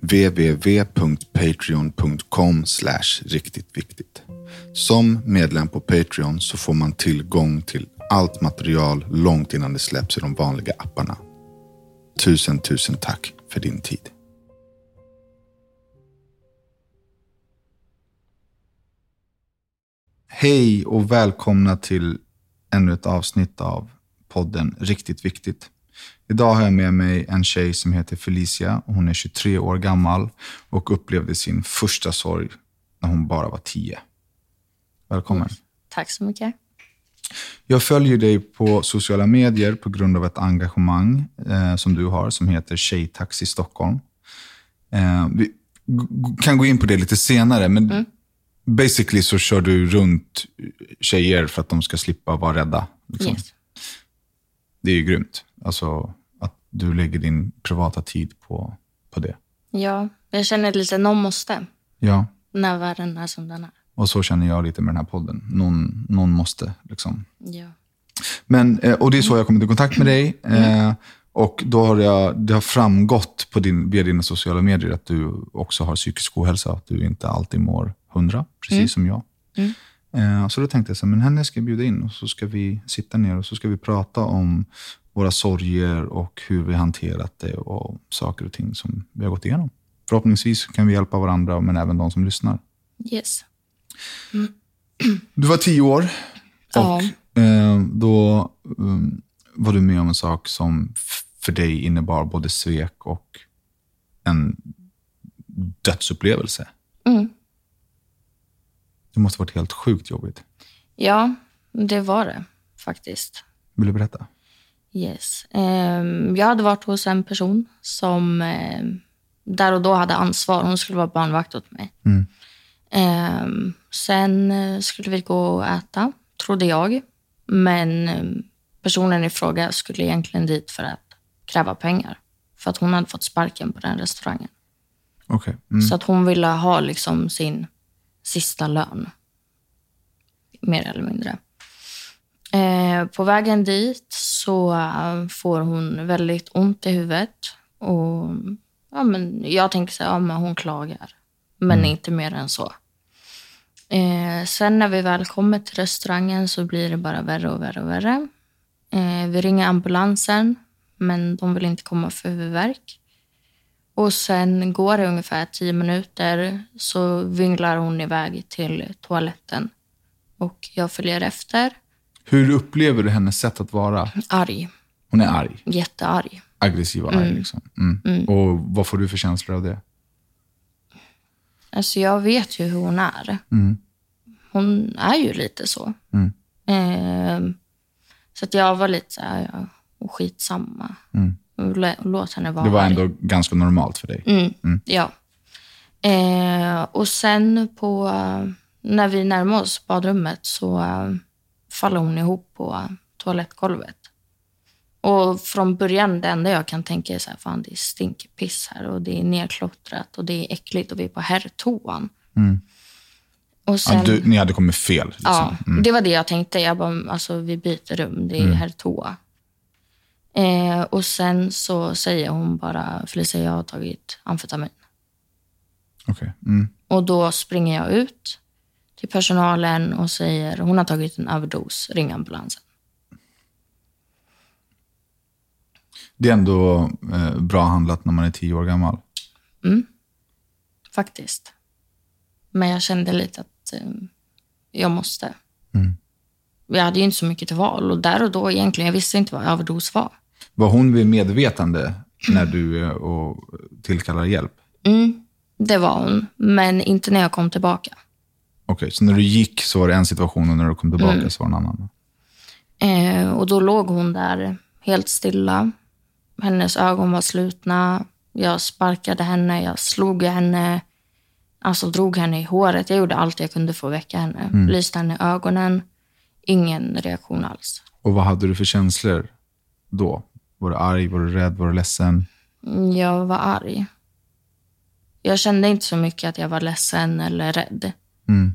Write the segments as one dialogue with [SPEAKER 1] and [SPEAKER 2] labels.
[SPEAKER 1] www.patreon.com riktigt viktigt. Som medlem på Patreon så får man tillgång till allt material långt innan det släpps i de vanliga apparna. Tusen, tusen tack för din tid. Hej och välkomna till ännu ett avsnitt av podden Riktigt Viktigt. Idag har jag med mig en tjej som heter Felicia. Hon är 23 år gammal och upplevde sin första sorg när hon bara var 10. Välkommen.
[SPEAKER 2] Tack så mycket.
[SPEAKER 1] Jag följer dig på sociala medier på grund av ett engagemang eh, som du har som heter Tjejtaxi Stockholm. Eh, vi g- g- kan gå in på det lite senare, men basically så kör du runt tjejer för att de ska slippa vara rädda. liksom.
[SPEAKER 2] Yes.
[SPEAKER 1] Det är ju grymt. Alltså att du lägger din privata tid på, på det.
[SPEAKER 2] Ja, jag känner lite, någon måste.
[SPEAKER 1] Ja,
[SPEAKER 2] När världen är som den är.
[SPEAKER 1] och så känner jag lite med den här podden. Någon, någon måste liksom.
[SPEAKER 2] Ja.
[SPEAKER 1] Men, eh, och det är så jag kommit i kontakt med dig.
[SPEAKER 2] Mm.
[SPEAKER 1] Eh, och då har jag, det har framgått på din, via dina sociala medier att du också har psykisk ohälsa. Att du inte alltid mår hundra, precis som jag.
[SPEAKER 2] Mm.
[SPEAKER 1] Eh, så då tänkte jag så här, men henne ska jag bjuda in och så ska vi sitta ner och så ska vi prata om våra sorger och hur vi hanterat det och saker och ting som vi har gått igenom. Förhoppningsvis kan vi hjälpa varandra, men även de som lyssnar.
[SPEAKER 2] Yes.
[SPEAKER 1] Du var tio år.
[SPEAKER 2] Ja.
[SPEAKER 1] Eh, då mm, var du med om en sak som f- för dig innebar både svek och en dödsupplevelse.
[SPEAKER 2] Mm.
[SPEAKER 1] Det måste varit helt sjukt jobbigt.
[SPEAKER 2] ja, det var det faktiskt.
[SPEAKER 1] Vill du berätta?
[SPEAKER 2] Yes. Ehm, jag hade varit hos en person som ehm, där och då hade ansvar. Hon skulle vara barnvakt åt mig.
[SPEAKER 1] Mm.
[SPEAKER 2] Ehm, sen eh, skulle vi gå och äta, trodde jag. Men ehm, personen i fråga skulle egentligen dit för att kräva pengar. För att hon hade fått sparken på den restaurangen.
[SPEAKER 1] Okej. Mm.
[SPEAKER 2] Så att hon ville ha liksom sin sista lön. Mer eller mindre. Eh, på vägen dit så eh, får hon väldigt ont i huvudet. Och, ja, men jag tänker så här, ja, men hon klagar. Men inte mer än så. Eh, sen när vi väl kommer till restaurangen så blir det bara värre och värre och värre. Eh, vi ringer ambulansen, men de vill inte komma för huvudvärk. Och sen går det ungefär tio minuter så vinglar hon iväg till toaletten. Och jag följer efter.
[SPEAKER 1] Hur upplever du hennes sätt att vara?
[SPEAKER 2] Arg.
[SPEAKER 1] Hon är arg.
[SPEAKER 2] Jättearg.
[SPEAKER 1] Aggressiv och arg. Liksom. Mm. Och vad får du för känslor av det?
[SPEAKER 2] Alltså jag vet ju hur hon är.
[SPEAKER 1] Mm.
[SPEAKER 2] Hon är ju lite så.
[SPEAKER 1] Mm.
[SPEAKER 2] Ehm, så att jag var lite så här, ja, och skitsamma.
[SPEAKER 1] Mm.
[SPEAKER 2] Lä- Låt henne vara
[SPEAKER 1] Det var
[SPEAKER 2] arg.
[SPEAKER 1] ändå ganska normalt för dig.
[SPEAKER 2] Mm, Ja. Eh, och sen på, eh, när vi närmar oss badrummet så eh, faller hon ihop på eh, toalettgolvet. Och från början, det enda jag kan tänka är så här, fan det stinker piss här och det är nerklottrat och det är äckligt och vi är på herrtoan.
[SPEAKER 1] Mm.
[SPEAKER 2] Och
[SPEAKER 1] Ja,
[SPEAKER 2] sen,
[SPEAKER 1] du, ni hade kommit fel. Liksom. Mm.
[SPEAKER 2] ja, det var det jag tänkte. Jag bara, alltså vi byter rum, det är herrtoa. Eh, och sen så säger hon bara, Felicia jag har tagit amfetamin.
[SPEAKER 1] Okej. Mm.
[SPEAKER 2] Och då springer jag ut till personalen och säger hon har tagit en överdos, ring ambulansen.
[SPEAKER 1] Det är ändå eh, bra handlat när man är tio år gammal.
[SPEAKER 2] Mm. Faktiskt. Men jag kände lite att eh, jag måste.
[SPEAKER 1] Mm.
[SPEAKER 2] Jag hade ju inte så mycket till val och där och då egentligen, jag visste inte vad överdos var.
[SPEAKER 1] Var hon vid medvetande när du eh, och tillkallar hjälp?
[SPEAKER 2] Mm, det var hon, men inte när jag kom tillbaka.
[SPEAKER 1] Okej, så när du gick så var det en situation och när du kom tillbaka så var det en annan?
[SPEAKER 2] Eh, och då låg hon där helt stilla. Hennes ögon var slutna. Jag sparkade henne, jag slog henne, alltså drog henne i håret. Jag gjorde allt jag kunde för att väcka henne. Lyste henne i ögonen. Ingen reaktion alls.
[SPEAKER 1] Och vad hade du för känslor då? Var du arg? Var du rädd? Var du ledsen?
[SPEAKER 2] Jag var arg. Jag kände inte så mycket att jag var ledsen eller rädd.
[SPEAKER 1] Mm.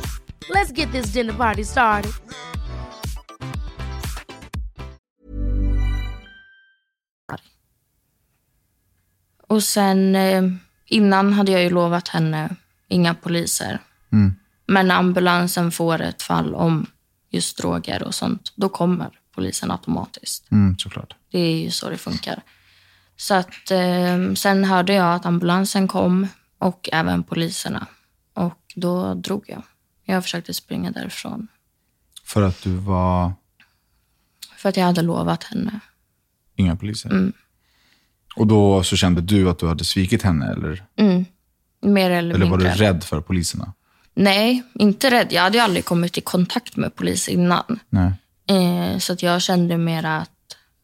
[SPEAKER 3] Let's get this dinner party started.
[SPEAKER 2] Och sen eh, innan hade jag ju lovat henne inga poliser.
[SPEAKER 1] Mm.
[SPEAKER 2] Men när ambulansen får ett fall om just droger och sånt, då kommer polisen automatiskt.
[SPEAKER 1] Mm, såklart.
[SPEAKER 2] Det är ju så det funkar. Så att eh, sen hörde jag att ambulansen kom och även poliserna. Och då drog jag. Jag försökte springa därifrån.
[SPEAKER 1] För att du var...
[SPEAKER 2] För att jag hade lovat henne.
[SPEAKER 1] Inga poliser? Och då så kände du att du hade svikit henne, eller,
[SPEAKER 2] Mm. Mer eller,
[SPEAKER 1] eller var du
[SPEAKER 2] mindre.
[SPEAKER 1] rädd för poliserna?
[SPEAKER 2] Nej, inte rädd. Jag hade ju aldrig kommit i kontakt med polis innan.
[SPEAKER 1] Nej.
[SPEAKER 2] Eh, så att jag kände mer att,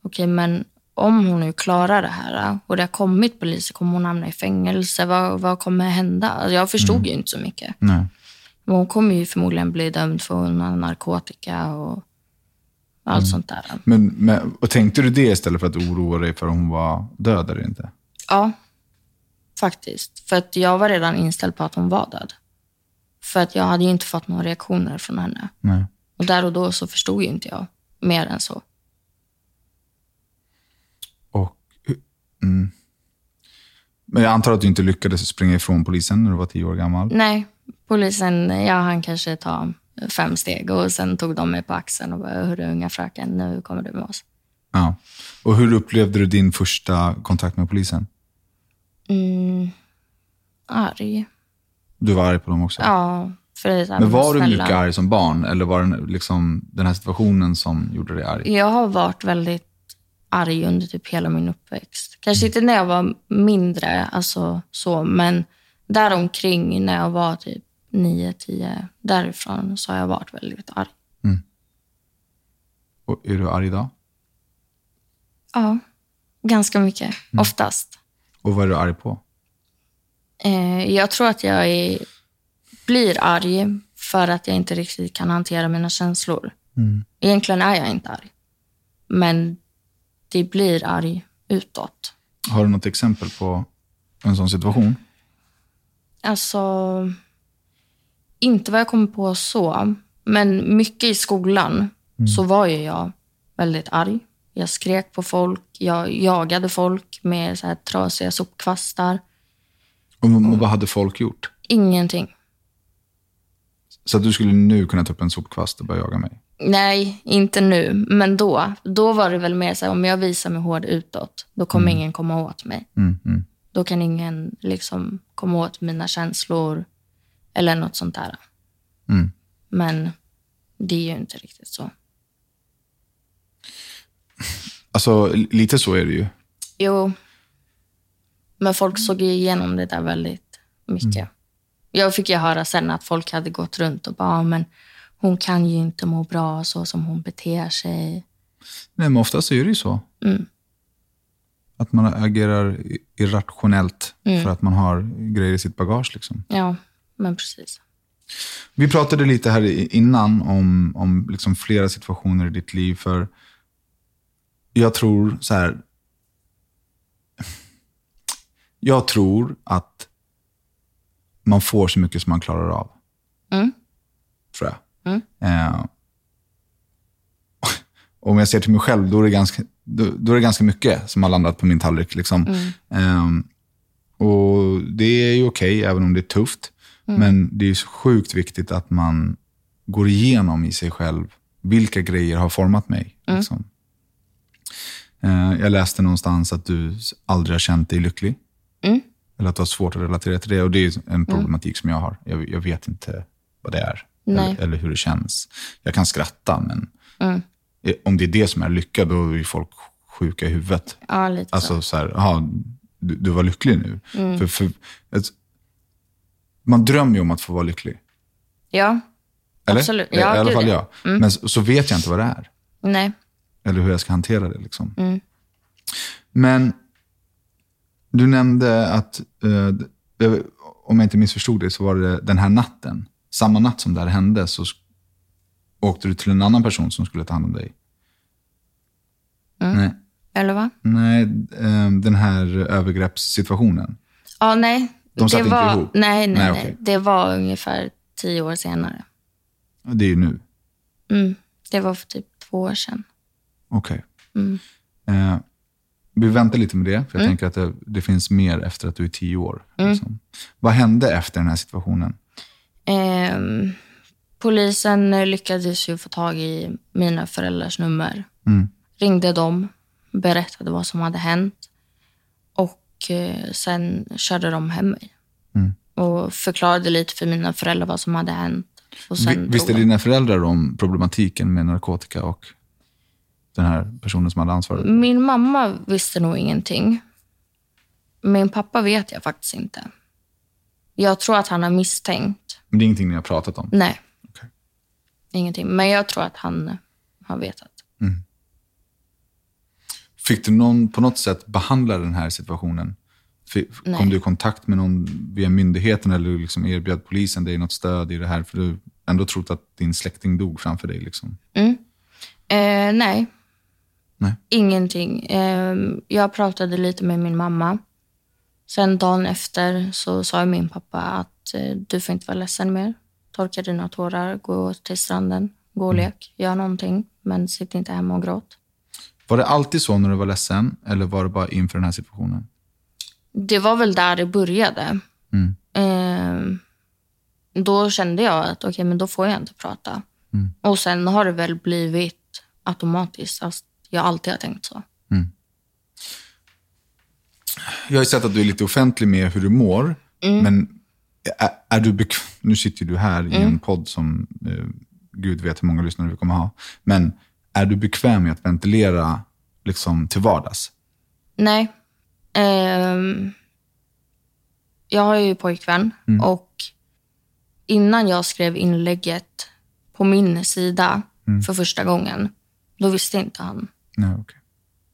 [SPEAKER 2] okej men om hon nu klarar det här eh, och det har kommit poliser, kommer hon hamna i fängelse? Vad, vad kommer hända? Alltså, jag förstod ju inte så mycket.
[SPEAKER 1] Nej.
[SPEAKER 2] Men hon kommer ju förmodligen bli dömd för hon har narkotika och allt sånt där.
[SPEAKER 1] Men, men, och tänkte du det istället för att oroa dig för om hon var död eller inte?
[SPEAKER 2] Ja, faktiskt. För att jag var redan inställd på att hon var död. För att jag hade ju inte fått några reaktioner från henne.
[SPEAKER 1] Nej.
[SPEAKER 2] Och där och då så förstod ju inte jag mer än så.
[SPEAKER 1] Och, mm. Men jag antar att du inte lyckades springa ifrån polisen när du var tio år gammal?
[SPEAKER 2] Nej, polisen, ja han kanske tar fem steg och sen tog de mig på axeln och bara, hörru unga fröken, nu kommer du med oss.
[SPEAKER 1] Ja. Och hur upplevde du din första kontakt med polisen?
[SPEAKER 2] Mm, arg.
[SPEAKER 1] Du var arg på dem också?
[SPEAKER 2] Ja, för det är så här,
[SPEAKER 1] Men var du
[SPEAKER 2] snälla.
[SPEAKER 1] mycket arg som barn eller var det liksom den här situationen som gjorde dig arg?
[SPEAKER 2] Jag har varit väldigt arg under typ hela min uppväxt. Kanske inte när jag var mindre, alltså så, men däromkring när jag var typ 9, 10, därifrån så har jag varit väldigt arg.
[SPEAKER 1] Och är du arg idag?
[SPEAKER 2] Ja, ganska mycket.
[SPEAKER 1] Mm.
[SPEAKER 2] Oftast.
[SPEAKER 1] Och vad är du arg på?
[SPEAKER 2] Eh, jag tror att jag är, blir arg för att jag inte riktigt kan hantera mina känslor. Egentligen är jag inte arg, men det blir arg utåt.
[SPEAKER 1] Har du något exempel på en sån situation?
[SPEAKER 2] Alltså, inte vad jag kommer på så, men mycket i skolan så var ju jag väldigt arg. Jag skrek på folk, jag jagade folk med så här trasiga sopkvastar.
[SPEAKER 1] Och och vad hade folk gjort?
[SPEAKER 2] Ingenting.
[SPEAKER 1] Så att du skulle nu kunna ta upp en sopkvast och börja jaga mig?
[SPEAKER 2] Nej, inte nu. Men då. Då var det väl mer så här, om jag visar mig hård utåt, då kommer ingen komma åt mig.
[SPEAKER 1] Mm, mm.
[SPEAKER 2] Då kan ingen liksom komma åt mina känslor eller något sånt där.
[SPEAKER 1] Mm.
[SPEAKER 2] Men det är ju inte riktigt så.
[SPEAKER 1] Alltså, lite så är det ju.
[SPEAKER 2] Jo, men folk såg ju igenom det där väldigt mycket.
[SPEAKER 1] Mm.
[SPEAKER 2] Jag fick ju höra sen att folk hade gått runt och bara, "Ah, men hon kan ju inte må bra så som hon beter sig.
[SPEAKER 1] Nej, men oftast är det ju så.
[SPEAKER 2] Mm.
[SPEAKER 1] Att man agerar i- irrationellt för att man har grejer i sitt bagage. Liksom.
[SPEAKER 2] Ja, men precis.
[SPEAKER 1] Vi pratade lite här i- innan om, om liksom flera situationer i ditt liv. För jag tror så här. Jag tror att man får så mycket som man klarar av.
[SPEAKER 2] Mm.
[SPEAKER 1] Tror jag. Eh, om jag ser till mig själv, då är det ganska, då, då är det ganska mycket som har landat på min tallrik. Liksom. Ehm, och det är ju okej, även om det är tufft.
[SPEAKER 2] Mm.
[SPEAKER 1] Men det är så sjukt viktigt att man går igenom i sig själv vilka grejer har format mig.
[SPEAKER 2] Mm.
[SPEAKER 1] Liksom. Eh, jag läste någonstans att du s- aldrig har känt dig lycklig.
[SPEAKER 2] Mm.
[SPEAKER 1] Eller att du har svårt att relatera till det. Och Det är ju en problematik som jag har. Jag, jag vet inte vad det är
[SPEAKER 2] Nej. Mm.
[SPEAKER 1] eller, eller hur det känns. Jag kan skratta, men eh, om det är det som är lycka, då är ju folk sjuka i huvudet.
[SPEAKER 2] Ja, lite så.
[SPEAKER 1] Alltså så här, aha, du, du var lycklig nu.
[SPEAKER 2] Mm.
[SPEAKER 1] För, för, ett, man drömmer ju om att få vara lycklig.
[SPEAKER 2] Ja,
[SPEAKER 1] Eller?
[SPEAKER 2] Absolut.
[SPEAKER 1] I,
[SPEAKER 2] Ja,
[SPEAKER 1] I alla
[SPEAKER 2] gud,
[SPEAKER 1] fall
[SPEAKER 2] ja. Mm.
[SPEAKER 1] jag. Men så, så vet jag inte vad det är.
[SPEAKER 2] nej.
[SPEAKER 1] Eller hur jag ska hantera det. Liksom.
[SPEAKER 2] Mm.
[SPEAKER 1] Men du nämnde att, eh, det- om jag inte missförstod det, så var det den här natten. Samma natt som det här hände så sk- åkte du till en annan person som skulle ta hand om dig.
[SPEAKER 2] Mm.
[SPEAKER 1] Nej,
[SPEAKER 2] Eller va?
[SPEAKER 1] nej eh, den här övergreppssituationen.
[SPEAKER 2] Ja, nej.
[SPEAKER 1] De satt
[SPEAKER 2] det
[SPEAKER 1] inte
[SPEAKER 2] var,
[SPEAKER 1] ihop?
[SPEAKER 2] Nej, nej,
[SPEAKER 1] Nej,
[SPEAKER 2] nej.
[SPEAKER 1] okej.
[SPEAKER 2] Det var ungefär tio år senare.
[SPEAKER 1] Det är ju nu.
[SPEAKER 2] Mm. Det var för typ två år sedan.
[SPEAKER 1] Okej.
[SPEAKER 2] Mm.
[SPEAKER 1] Eh, vi väntar lite med det, för jag tänker att det, det finns mer efter att du är tio år.
[SPEAKER 2] Mm.
[SPEAKER 1] Liksom. Vad hände efter den här situationen?
[SPEAKER 2] Ehm, polisen lyckades ju få tag i mina föräldrars nummer.
[SPEAKER 1] Mm.
[SPEAKER 2] Ringde dem, berättade vad som hade hänt och eh, sen körde de hem mig.
[SPEAKER 1] Mm.
[SPEAKER 2] Och förklarade lite för mina föräldrar vad som hade hänt. Och
[SPEAKER 1] Vi-
[SPEAKER 2] sen tog
[SPEAKER 1] Visste
[SPEAKER 2] de-
[SPEAKER 1] dina föräldrar om problematiken med narkotika och den här personen som hade ansvaret?
[SPEAKER 2] Min mamma visste nog ingenting. Min pappa vet jag faktiskt inte. Jag tror att han har misstänkt.
[SPEAKER 1] Men det är ingenting ni har pratat om?
[SPEAKER 2] Nej.
[SPEAKER 1] Okej.
[SPEAKER 2] Ingenting. Men jag tror att han har vetat.
[SPEAKER 1] Fick du någon på något sätt behandla den här situationen? Fick,
[SPEAKER 2] Nej.
[SPEAKER 1] kom du i kontakt med någon via myndigheten eller liksom erbjöd polisen dig något stöd i det här? För du ändå trott att din släkting dog framför dig. Liksom.
[SPEAKER 2] Eh, nej.
[SPEAKER 1] Nej.
[SPEAKER 2] Ingenting. Eh, jag pratade lite med min mamma. Sen dagen efter så sa ju min pappa att eh, du får inte vara ledsen mer. Torka dina tårar, gå till stranden, gå
[SPEAKER 1] Mm.
[SPEAKER 2] och lek, gör någonting. Men sitt inte hemma och gråt.
[SPEAKER 1] Var det alltid så när du var ledsen eller var det bara inför den här situationen?
[SPEAKER 2] Det var väl där det började.
[SPEAKER 1] Mm.
[SPEAKER 2] Ehm, då kände jag att okej, men då får jag inte prata.
[SPEAKER 1] Mm.
[SPEAKER 2] Och sen har det väl blivit automatiskt. Alltså, jag alltid har tänkt så.
[SPEAKER 1] Jag har ju sett att du är lite offentlig med hur du mår, men är, är du bekv... nu sitter ju du här i en podd som eh, gud vet hur många lyssnare vi kommer ha, men är du bekväm med att ventilera liksom, till vardags?
[SPEAKER 2] Nej. Ehm, jag har ju pojkvän
[SPEAKER 1] Mm.
[SPEAKER 2] och innan jag skrev inlägget på min sida
[SPEAKER 1] Mm.
[SPEAKER 2] för första gången, då visste inte han.
[SPEAKER 1] Nej, okej.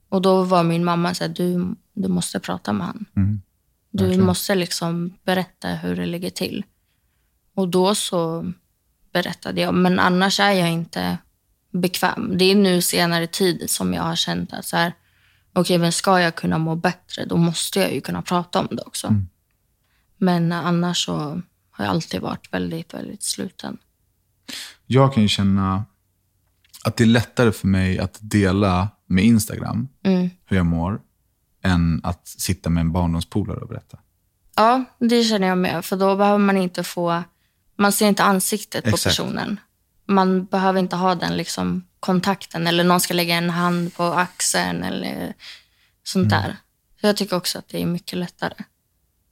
[SPEAKER 2] Och då var min mamma så här, du, du måste prata med han.
[SPEAKER 1] Mm.
[SPEAKER 2] Du måste liksom berätta hur det ligger till. Och då så berättade jag, men annars är jag inte bekväm. Det är nu senare tid som jag har känt att så här, okej, men ska jag kunna må bättre, då måste jag ju kunna prata om det också. Men annars så har jag alltid varit väldigt, väldigt sluten.
[SPEAKER 1] Jag kan ju känna att det är lättare för mig att dela med Instagram
[SPEAKER 2] Mm.
[SPEAKER 1] hur jag mår, än att sitta med en barndomspolare och berätta.
[SPEAKER 2] Ja, det känner jag med. För då behöver man inte få... Man ser inte ansiktet
[SPEAKER 1] Exakt.
[SPEAKER 2] på personen. Man behöver inte ha den liksom, kontakten eller någon ska lägga en hand på axeln eller sånt
[SPEAKER 1] Mm.
[SPEAKER 2] där. Så jag tycker också att det är mycket lättare.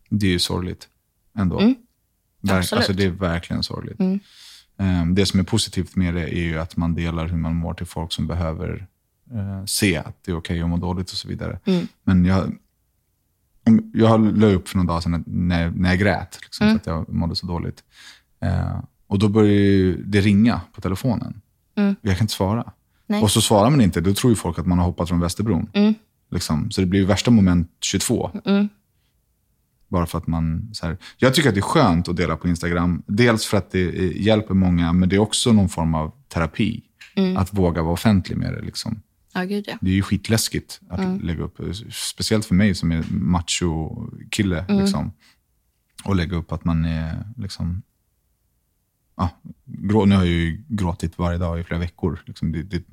[SPEAKER 1] Det är ju sorgligt ändå. Verk-
[SPEAKER 2] Mm. Absolut. Mm.
[SPEAKER 1] Alltså det är verkligen sorgligt. Ehm, Det som är positivt med det är ju att man delar hur man mår till folk som behöver eh, se att det är okej att må dåligt och så vidare.
[SPEAKER 2] Mm.
[SPEAKER 1] Men jag, om- jag la upp för någon dag sedan att- när, när jag grät, liksom,
[SPEAKER 2] Mm.
[SPEAKER 1] för att jag mådde så dåligt. Eh, och då började ju det ringa på telefonen. Jag kan inte svara.
[SPEAKER 2] Mm. Nej. Mm.
[SPEAKER 1] Och så svarar man inte, då tror ju folk att man har hoppat från Västerbron. Liksom. Så det blir ju värsta moment 22. Bara för att man... Så här, jag tycker att det är skönt att dela på Instagram. Dels för att det eh, hjälper många, men det är också någon form av terapi. Att våga vara offentlig med det. Liksom.
[SPEAKER 2] Ja, gud ja.
[SPEAKER 1] Det är ju skitläskigt att lägga upp, speciellt för mig som är macho-kille, liksom, och lägga upp att man är... Liksom, ja, grå, nu har jag ju gråtit varje dag i flera veckor. Liksom, det, det,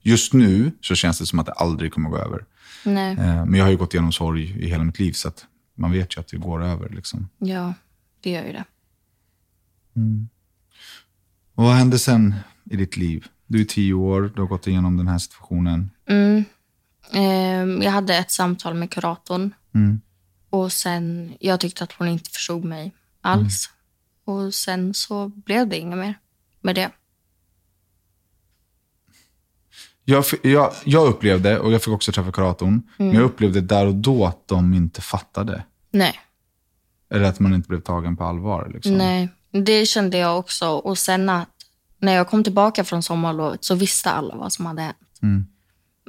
[SPEAKER 1] just nu så känns det som att det aldrig kommer gå över.
[SPEAKER 2] Nej,
[SPEAKER 1] Eh, men jag har ju gått igenom sorg i hela mitt liv, så att man vet ju att det går över. Liksom.
[SPEAKER 2] ja, det gör ju det.
[SPEAKER 1] Och vad hände sen i ditt liv? Du är tio år, du har gått igenom den här situationen.
[SPEAKER 2] Mm. Ehm, jag hade ett samtal med kuratorn.
[SPEAKER 1] Mm.
[SPEAKER 2] Och sen, jag tyckte att hon inte förstod mig alls.
[SPEAKER 1] Mm.
[SPEAKER 2] Och sen så blev det inget mer med det.
[SPEAKER 1] Jag, f- jag, jag upplevde, och jag fick också träffa kuratorn,
[SPEAKER 2] Mm.
[SPEAKER 1] men jag upplevde där och då att de inte fattade.
[SPEAKER 2] Nej.
[SPEAKER 1] Eller att man inte blev tagen på allvar. Liksom.
[SPEAKER 2] Nej, det kände jag också. Och sen att när jag kom tillbaka från sommarlovet så visste alla vad som hade hänt. Mm.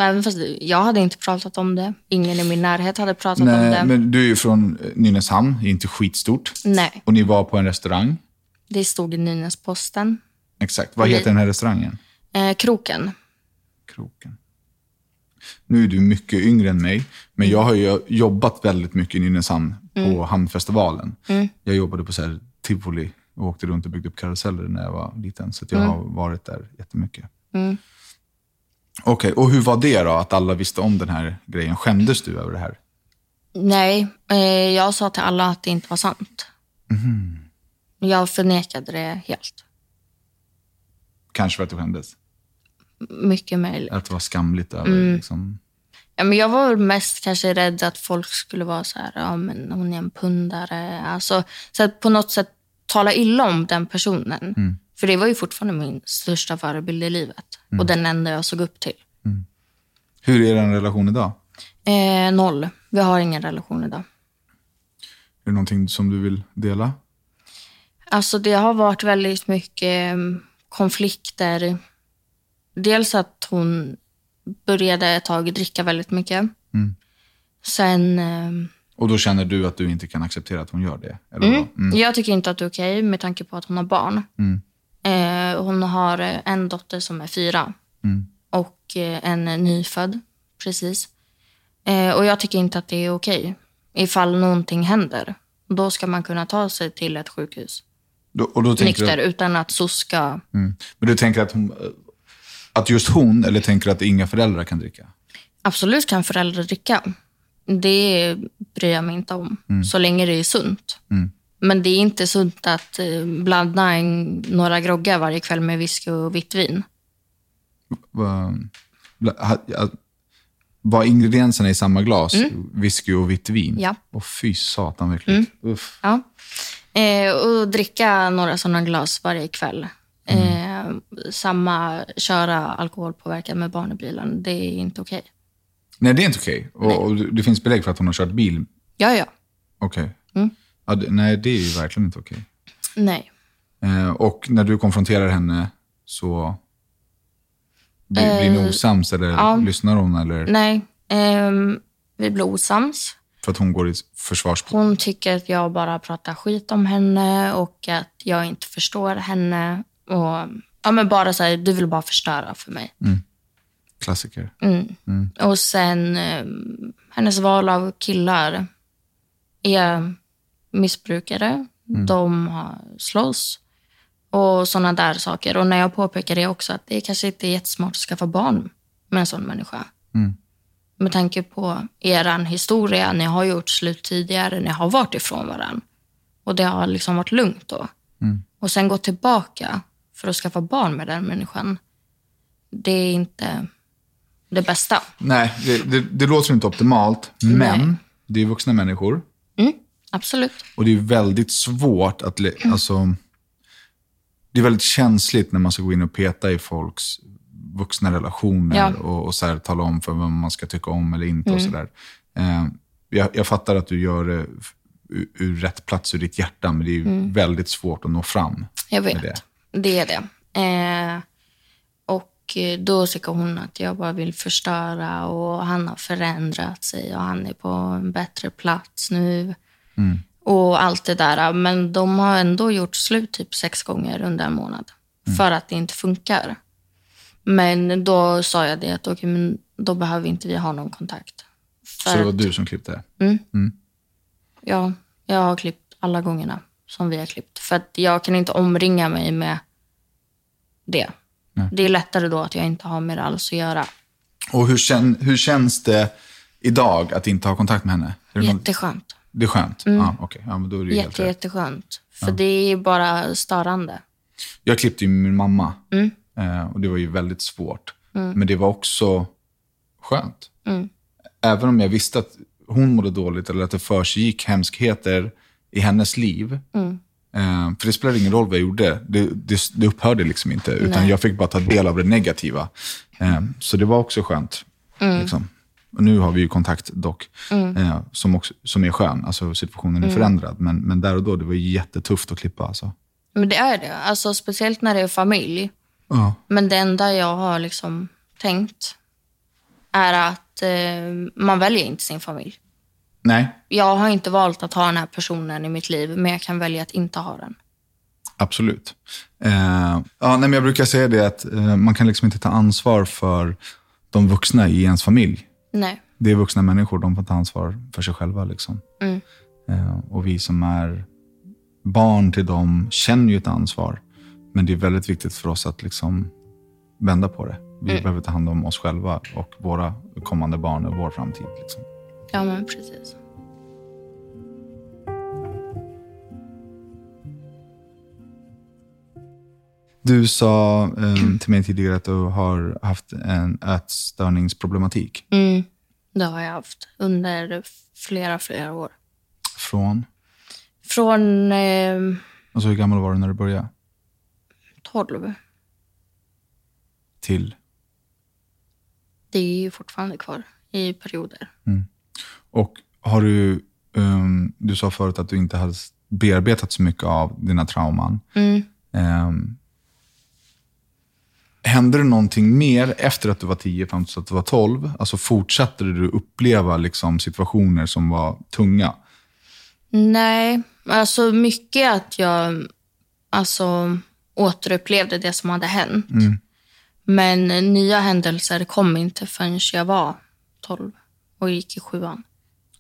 [SPEAKER 2] Även fast jag hade inte pratat om det. Ingen i min närhet hade pratat om det.
[SPEAKER 1] Nej, men du är ju från eh, Nynäshamn, det är inte skitstort.
[SPEAKER 2] Nej,
[SPEAKER 1] Och ni var på en restaurang.
[SPEAKER 2] det stod i Nynäsposten.
[SPEAKER 1] Exakt.
[SPEAKER 2] Mm.
[SPEAKER 1] Vad heter den här restaurangen?
[SPEAKER 2] Eh, kroken.
[SPEAKER 1] Kroken. Nu är du mycket yngre än mig, men jag har ju jobbat väldigt mycket i Nynäshamn på Hamnfestivalen. Jag jobbade på så här tivoli och åkte runt och byggde upp karuseller när jag var liten, så att jag har varit där jättemycket. Okej, och hur var det då, att alla visste om den här grejen? Skämdes du över det här?
[SPEAKER 2] Nej, eh, jag sa till alla att det inte var sant.
[SPEAKER 1] Mhm.
[SPEAKER 2] Jag förnekade det helt.
[SPEAKER 1] Kanske för att du skämdes?
[SPEAKER 2] Mycket möjligt.
[SPEAKER 1] Att det var skamligt över liksom...
[SPEAKER 2] Ja, men jag var väl mest kanske rädd att folk skulle vara så här, ja men hon är en pundare. Alltså, så att på något sätt tala illa om den personen. För det var ju fortfarande min största förebild i livet. Och den enda jag såg upp till.
[SPEAKER 1] Hur är er relation idag?
[SPEAKER 2] Eh, noll. Vi har ingen relation idag.
[SPEAKER 1] Är det någonting som du vill dela?
[SPEAKER 2] Alltså det har varit väldigt mycket mm, konflikter. Dels att hon började ett tag dricka väldigt mycket. Sen ehm,
[SPEAKER 1] Och då känner du att du inte kan acceptera att hon gör det? Eller vad? Mm.
[SPEAKER 2] Jag tycker inte att det är okej med tanke på att hon har barn. Eh, hon har eh, en dotter som är fyra
[SPEAKER 1] Mm.
[SPEAKER 2] och eh, en nyfödd precis. Eh, och jag tycker inte att det är okej. Ifall någonting händer, då ska man kunna ta sig till ett sjukhus
[SPEAKER 1] Då, och då tänker
[SPEAKER 2] nykter
[SPEAKER 1] du,
[SPEAKER 2] utan att SOS ska...
[SPEAKER 1] mm. Men du tänker att, hon, att just hon, eller tänker du att inga föräldrar kan dricka?
[SPEAKER 2] Absolut kan föräldrar dricka. Det bryr jag mig inte om,
[SPEAKER 1] Mm.
[SPEAKER 2] så länge det är sunt. Men det är inte sunt att eh, blanda en, några groggar varje kväll med whisky och vitt vin.
[SPEAKER 1] Vad- ha- ja, Var ingredienserna i samma glas? Whisky och vitt vin?
[SPEAKER 2] Ja.
[SPEAKER 1] Och fy satan vad äckligt. Uff.
[SPEAKER 2] Ja. Eh, och dricka några sådana glas varje kväll. Eh, samma, köra alkoholpåverkad med barn i bilen. Det är inte okej.
[SPEAKER 1] Nej, det är inte okej. Och, och det finns belägg för att hon har kört bil.
[SPEAKER 2] Ja, ja.
[SPEAKER 1] Okej. Ja, det- nej, det är ju verkligen inte okej.
[SPEAKER 2] Nej.
[SPEAKER 1] Eh, och när du konfronterar henne så blir, blir ni osams eller lyssnar hon? Eller,
[SPEAKER 2] Nej. Ehm, vi blir osams.
[SPEAKER 1] för att hon går i försvars...
[SPEAKER 2] Hon tycker att jag bara pratar skit om henne och att jag inte förstår henne. Och, ja, men bara så här, du vill bara förstöra för mig.
[SPEAKER 1] Klassiker.
[SPEAKER 2] Och sen eh, hennes val av killar är missbrukare. De har- slåss och sådana där saker. Och när jag påpekar det också, att det kanske inte är jättesmart att skaffa barn med en sån människa. Med tanke på er historia, ni har gjort slut tidigare, ni har varit ifrån varandra. Och det har liksom varit lugnt då. Och sen gå tillbaka för att skaffa barn med den människan. Det är inte det bästa.
[SPEAKER 1] Nej, det, det, det låter inte optimalt, men det är vuxna människor
[SPEAKER 2] Mm, absolut.
[SPEAKER 1] och det är väldigt svårt att... le- Alltså, det är väldigt känsligt när man ska gå in och peta i folks vuxna relationer
[SPEAKER 2] Ja.
[SPEAKER 1] och, och så här, tala om för vad man ska tycka om eller inte. och så där. Eh, jag, jag fattar att du gör det f- ur, ur rätt plats ur ditt hjärta, men det är ju väldigt svårt att nå fram.
[SPEAKER 2] Jag vet.
[SPEAKER 1] det.
[SPEAKER 2] Det. är det. Eh, och eh, då tycker hon att jag bara vill förstöra och han har förändrat sig och han är på en bättre plats nu. Och allt det där. Men de har ändå gjort slut typ sex gånger under en månad. För att det inte funkar. Men då sa jag det att okej, men då behöver inte vi ha någon kontakt. För
[SPEAKER 1] Så det var
[SPEAKER 2] att-
[SPEAKER 1] du som klippte.
[SPEAKER 2] Ja, jag har klippt alla gångerna som vi har klippt. För att jag kan inte omringa mig med det. Det är lättare då att jag inte har med det alls att göra.
[SPEAKER 1] Och hur, kän, hur känns det idag att inte ha kontakt med henne? Är det, någon-
[SPEAKER 2] Jätteskönt.
[SPEAKER 1] det är skönt? Ja, okej. ja, men då är det ju helt
[SPEAKER 2] Jätte,
[SPEAKER 1] rätt.
[SPEAKER 2] jätteskönt. För det är ju bara störande.
[SPEAKER 1] Jag klippte ju min mamma eh, och det var ju väldigt svårt. Men det var också skönt. Även om jag visste att hon mådde dåligt eller att det försiggick hemskheter i hennes liv Eh, för det spelade ingen roll vad jag gjorde. Det, det, det upphörde liksom inte. Utan jag fick bara ta del av det negativa. Eh, så det var också skönt. Liksom. Och nu har vi ju kontakt dock, eh, som, också, som är skön. Alltså situationen är förändrad. Men, men där och då, det var ju jättetufft att klippa. Alltså.
[SPEAKER 2] Men det är det. Alltså, speciellt när det är familj.
[SPEAKER 1] Ja.
[SPEAKER 2] Men det enda jag har liksom tänkt är att eh, man väljer inte sin familj.
[SPEAKER 1] Nej,
[SPEAKER 2] Jag har inte valt att ha den här personen i mitt liv, men jag kan välja att inte ha den.
[SPEAKER 1] Absolut. Eh, ja, nej, men jag brukar säga det att eh, man kan liksom inte ta ansvar för de vuxna i ens familj.
[SPEAKER 2] Nej.
[SPEAKER 1] Det är vuxna människor, de får ta ansvar för sig själva. Liksom.
[SPEAKER 2] Mm.
[SPEAKER 1] Eh, och vi som är barn till dem känner ju ett ansvar. Men det är väldigt viktigt för oss att liksom vända på det. Vi
[SPEAKER 2] Mm.
[SPEAKER 1] behöver ta hand om oss själva och våra kommande barn och vår framtid. Liksom.
[SPEAKER 2] Ja, men precis.
[SPEAKER 1] Du sa eh, till mig tidigare att du har haft en ätstörningsproblematik.
[SPEAKER 2] Mm. Det har jag haft under flera, flera år.
[SPEAKER 1] Från?
[SPEAKER 2] Från eh,
[SPEAKER 1] Alltså hur gammal var du när du började?
[SPEAKER 2] 12.
[SPEAKER 1] Till?
[SPEAKER 2] Det är ju fortfarande kvar i perioder.
[SPEAKER 1] Och har du, ehm, du sa förut att du inte hade bearbetat så mycket av dina trauman.
[SPEAKER 2] Mm.
[SPEAKER 1] Um, hände det någonting mer efter att du var 10 fram till att du var 12? Alltså fortsatte du uppleva liksom situationer som var tunga?
[SPEAKER 2] Nej, alltså mycket att jag alltså, återupplevde det som hade hänt. Men nya händelser kom inte förrän jag var 12 och gick i sjuan.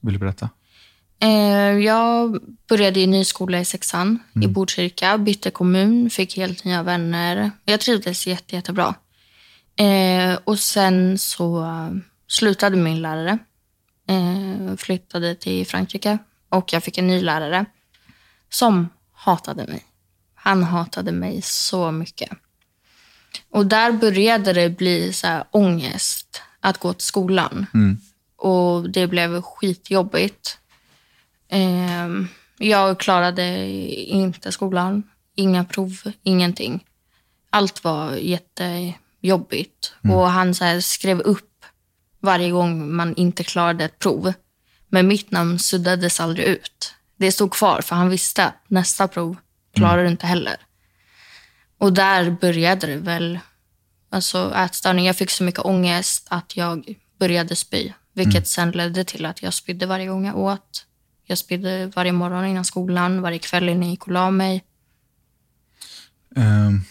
[SPEAKER 1] Vill du berätta?
[SPEAKER 2] Eh, jag började i ny skola i sexan i Botkyrka, bytte kommun, fick helt nya vänner. Jag trivdes jätte, jättebra. Eh, och sen så eh, slutade min lärare. Eh, flyttade till Frankrike och jag fick en ny lärare som hatade mig. Han hatade mig så mycket. Och där började det bli så här ångest att gå till skolan. Och det blev skitjobbigt. Ehm, jag klarade inte skolan. Inga prov, ingenting. Allt var jättejobbigt. Och han så här skrev upp varje gång man inte klarade ett prov. Men mitt namn suddades aldrig ut. Det stod kvar, för han visste att nästa prov klarar du inte heller. Och där började det väl, alltså ätstörning. Jag fick så mycket ångest att jag började spy. Vilket
[SPEAKER 1] Mm.
[SPEAKER 2] sen ledde till att jag spydde varje gång jag åt. Jag spydde varje morgon innan skolan, varje kväll innan jag gick och la mig.
[SPEAKER 1] Ehm,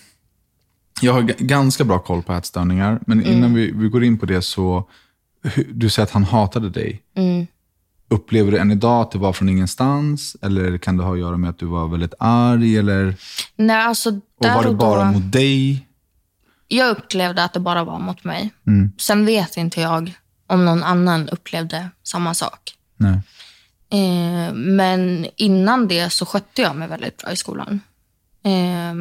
[SPEAKER 1] jag har g- ganska bra koll på ätstörningar, men innan vi, vi går in på det så, hu- du säger att han hatade dig. Upplever du än idag att det var från ingenstans? Eller kan det ha att göra med att du var väldigt arg? Eller,
[SPEAKER 2] Nej, alltså, där
[SPEAKER 1] och var det
[SPEAKER 2] och då-
[SPEAKER 1] bara mot dig?
[SPEAKER 2] Jag upplevde att det bara var mot mig.
[SPEAKER 1] Mm.
[SPEAKER 2] Sen vet inte jag om någon annan upplevde samma sak.
[SPEAKER 1] Nej.
[SPEAKER 2] Eh, men innan det så skötte jag mig väldigt bra i skolan. Eh,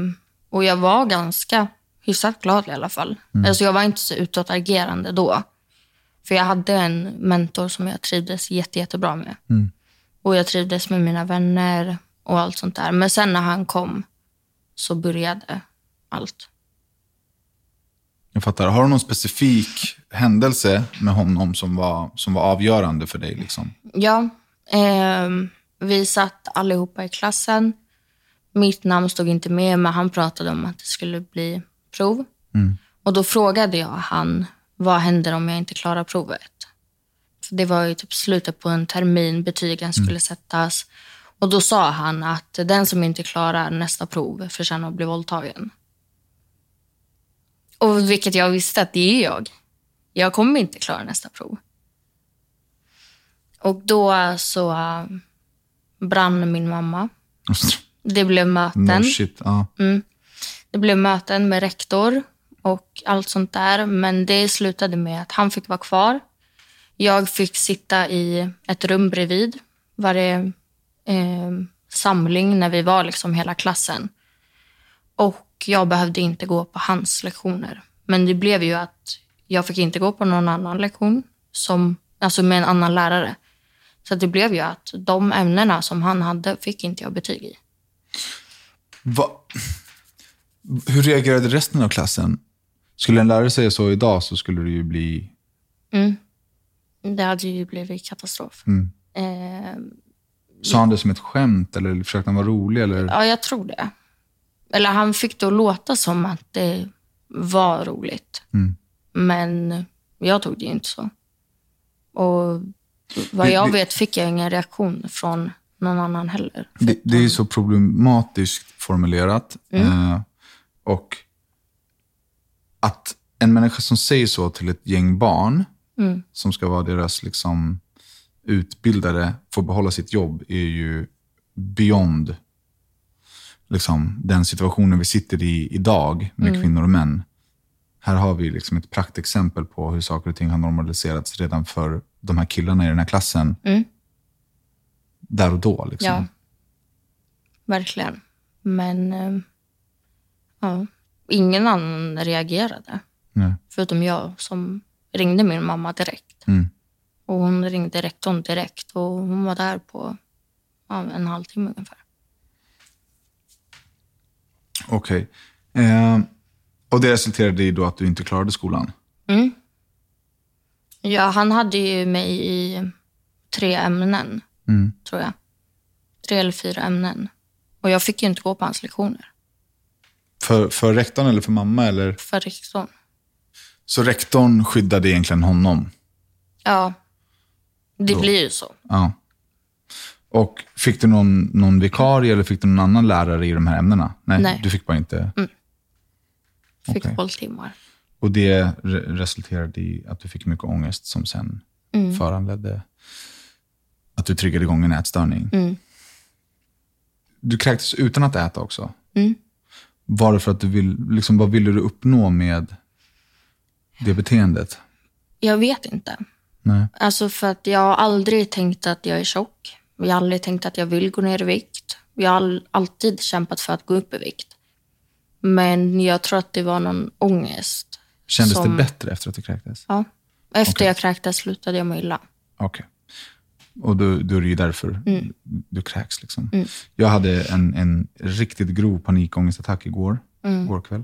[SPEAKER 2] och jag var ganska hyfsat glad i alla fall. Alltså jag var inte så utåtagerande då. För jag hade en mentor som jag trivdes jätte, jättebra med. Och jag trivdes med mina vänner och allt sånt där. Men sen när han kom så började allt.
[SPEAKER 1] Jag fattar. Har du någon specifik händelse med honom som var, som var avgörande för dig? Liksom?
[SPEAKER 2] Ja. ehm, vi satt allihopa i klassen. Mitt namn stod inte med, men han pratade om att det skulle bli prov. Och Då frågade jag han vad händer om jag inte klarar provet. För det var ju typ slutet på en termin, betygen skulle sättas. Och Då sa han att den som inte klarar nästa prov förtjänar att bli våldtagen. Och vilket jag visste att det är jag. Jag kommer inte klara nästa prov. Och då så äh, brann min mamma. Det blev
[SPEAKER 1] No
[SPEAKER 2] möten.
[SPEAKER 1] shit. Ja.
[SPEAKER 2] Det blev möten med rektor och allt sånt där. Men det slutade med att han fick vara kvar. Jag fick sitta i ett rum bredvid varje eh, samling när vi var liksom hela klassen. Och jag behövde inte gå på hans lektioner. Men det blev ju att jag fick inte gå på någon annan lektion, som, alltså med en annan lärare. Så att det blev ju att de ämnena som han hade fick inte jag betyg i.
[SPEAKER 1] Va? Hur reagerade resten av klassen? Skulle en lärare säga så idag så skulle det ju bli...
[SPEAKER 2] Mm. Det hade ju blivit katastrof. Eh,
[SPEAKER 1] Sa han det som ett skämt eller försökte han vara rolig? Eller?
[SPEAKER 2] ja, jag tror det. Eller han fick det att låta som att det var roligt. Men jag tog det ju inte så. Och vad
[SPEAKER 1] Det-
[SPEAKER 2] jag
[SPEAKER 1] det-
[SPEAKER 2] vet fick jag ingen reaktion från någon annan heller.
[SPEAKER 1] Det, det är ju så problematiskt formulerat. Eh, och att en människa som säger så till ett gäng barn, som ska vara deras liksom, utbildare, får behålla sitt jobb, är ju beyond liksom, den situationen vi sitter i idag med kvinnor och män. Här har vi liksom ett praktexempel på hur saker och ting har normaliserats redan för de här killarna i den här klassen. Där och då. Liksom.
[SPEAKER 2] Ja, verkligen. Men eh, ja, ingen annan reagerade.
[SPEAKER 1] Nej.
[SPEAKER 2] Förutom jag som ringde min mamma direkt.
[SPEAKER 1] Mm.
[SPEAKER 2] Och hon ringde rektorn direkt och hon var där på ja, en halvtimme ungefär.
[SPEAKER 1] Okej. Eh, och det resulterade i då att du inte klarade skolan?
[SPEAKER 2] Ja, han hade ju mig i tre ämnen,
[SPEAKER 1] Mm.
[SPEAKER 2] tror jag. Tre eller fyra ämnen. Och jag fick ju inte gå på hans lektioner
[SPEAKER 1] För, för rektorn eller för mamma? Eller?
[SPEAKER 2] för rektorn.
[SPEAKER 1] Så rektorn skyddade egentligen honom?
[SPEAKER 2] Ja, det blir ju så.
[SPEAKER 1] Ja. Och fick du någon, någon vikarie eller fick du någon annan lärare i de här ämnena? Nej,
[SPEAKER 2] Nej.
[SPEAKER 1] du fick bara inte.
[SPEAKER 2] Fick
[SPEAKER 1] Okej.
[SPEAKER 2] hålltimmar.
[SPEAKER 1] Och det re- resulterade i att du fick mycket ångest som sen föranledde att du triggade igång en ätstörning. Du kräktes utan att äta också. Var det för att du vill, liksom, vad ville du uppnå med det beteendet?
[SPEAKER 2] Jag vet inte.
[SPEAKER 1] Nej.
[SPEAKER 2] Alltså för att jag har aldrig tänkt att jag är tjock. Jag har aldrig tänkt att jag vill gå ner i vikt. Jag har all- alltid kämpat för att gå upp i vikt. Men jag tror att det var någon ångest.
[SPEAKER 1] Kändes
[SPEAKER 2] Som-
[SPEAKER 1] det bättre efter att du kräktes?
[SPEAKER 2] Ja. Efter jag kräktes slutade jag må illa.
[SPEAKER 1] Okej. Och då, då är det ju därför du kräks. Liksom. Jag hade en, en riktigt grov panikångestattack igår, igår kväll.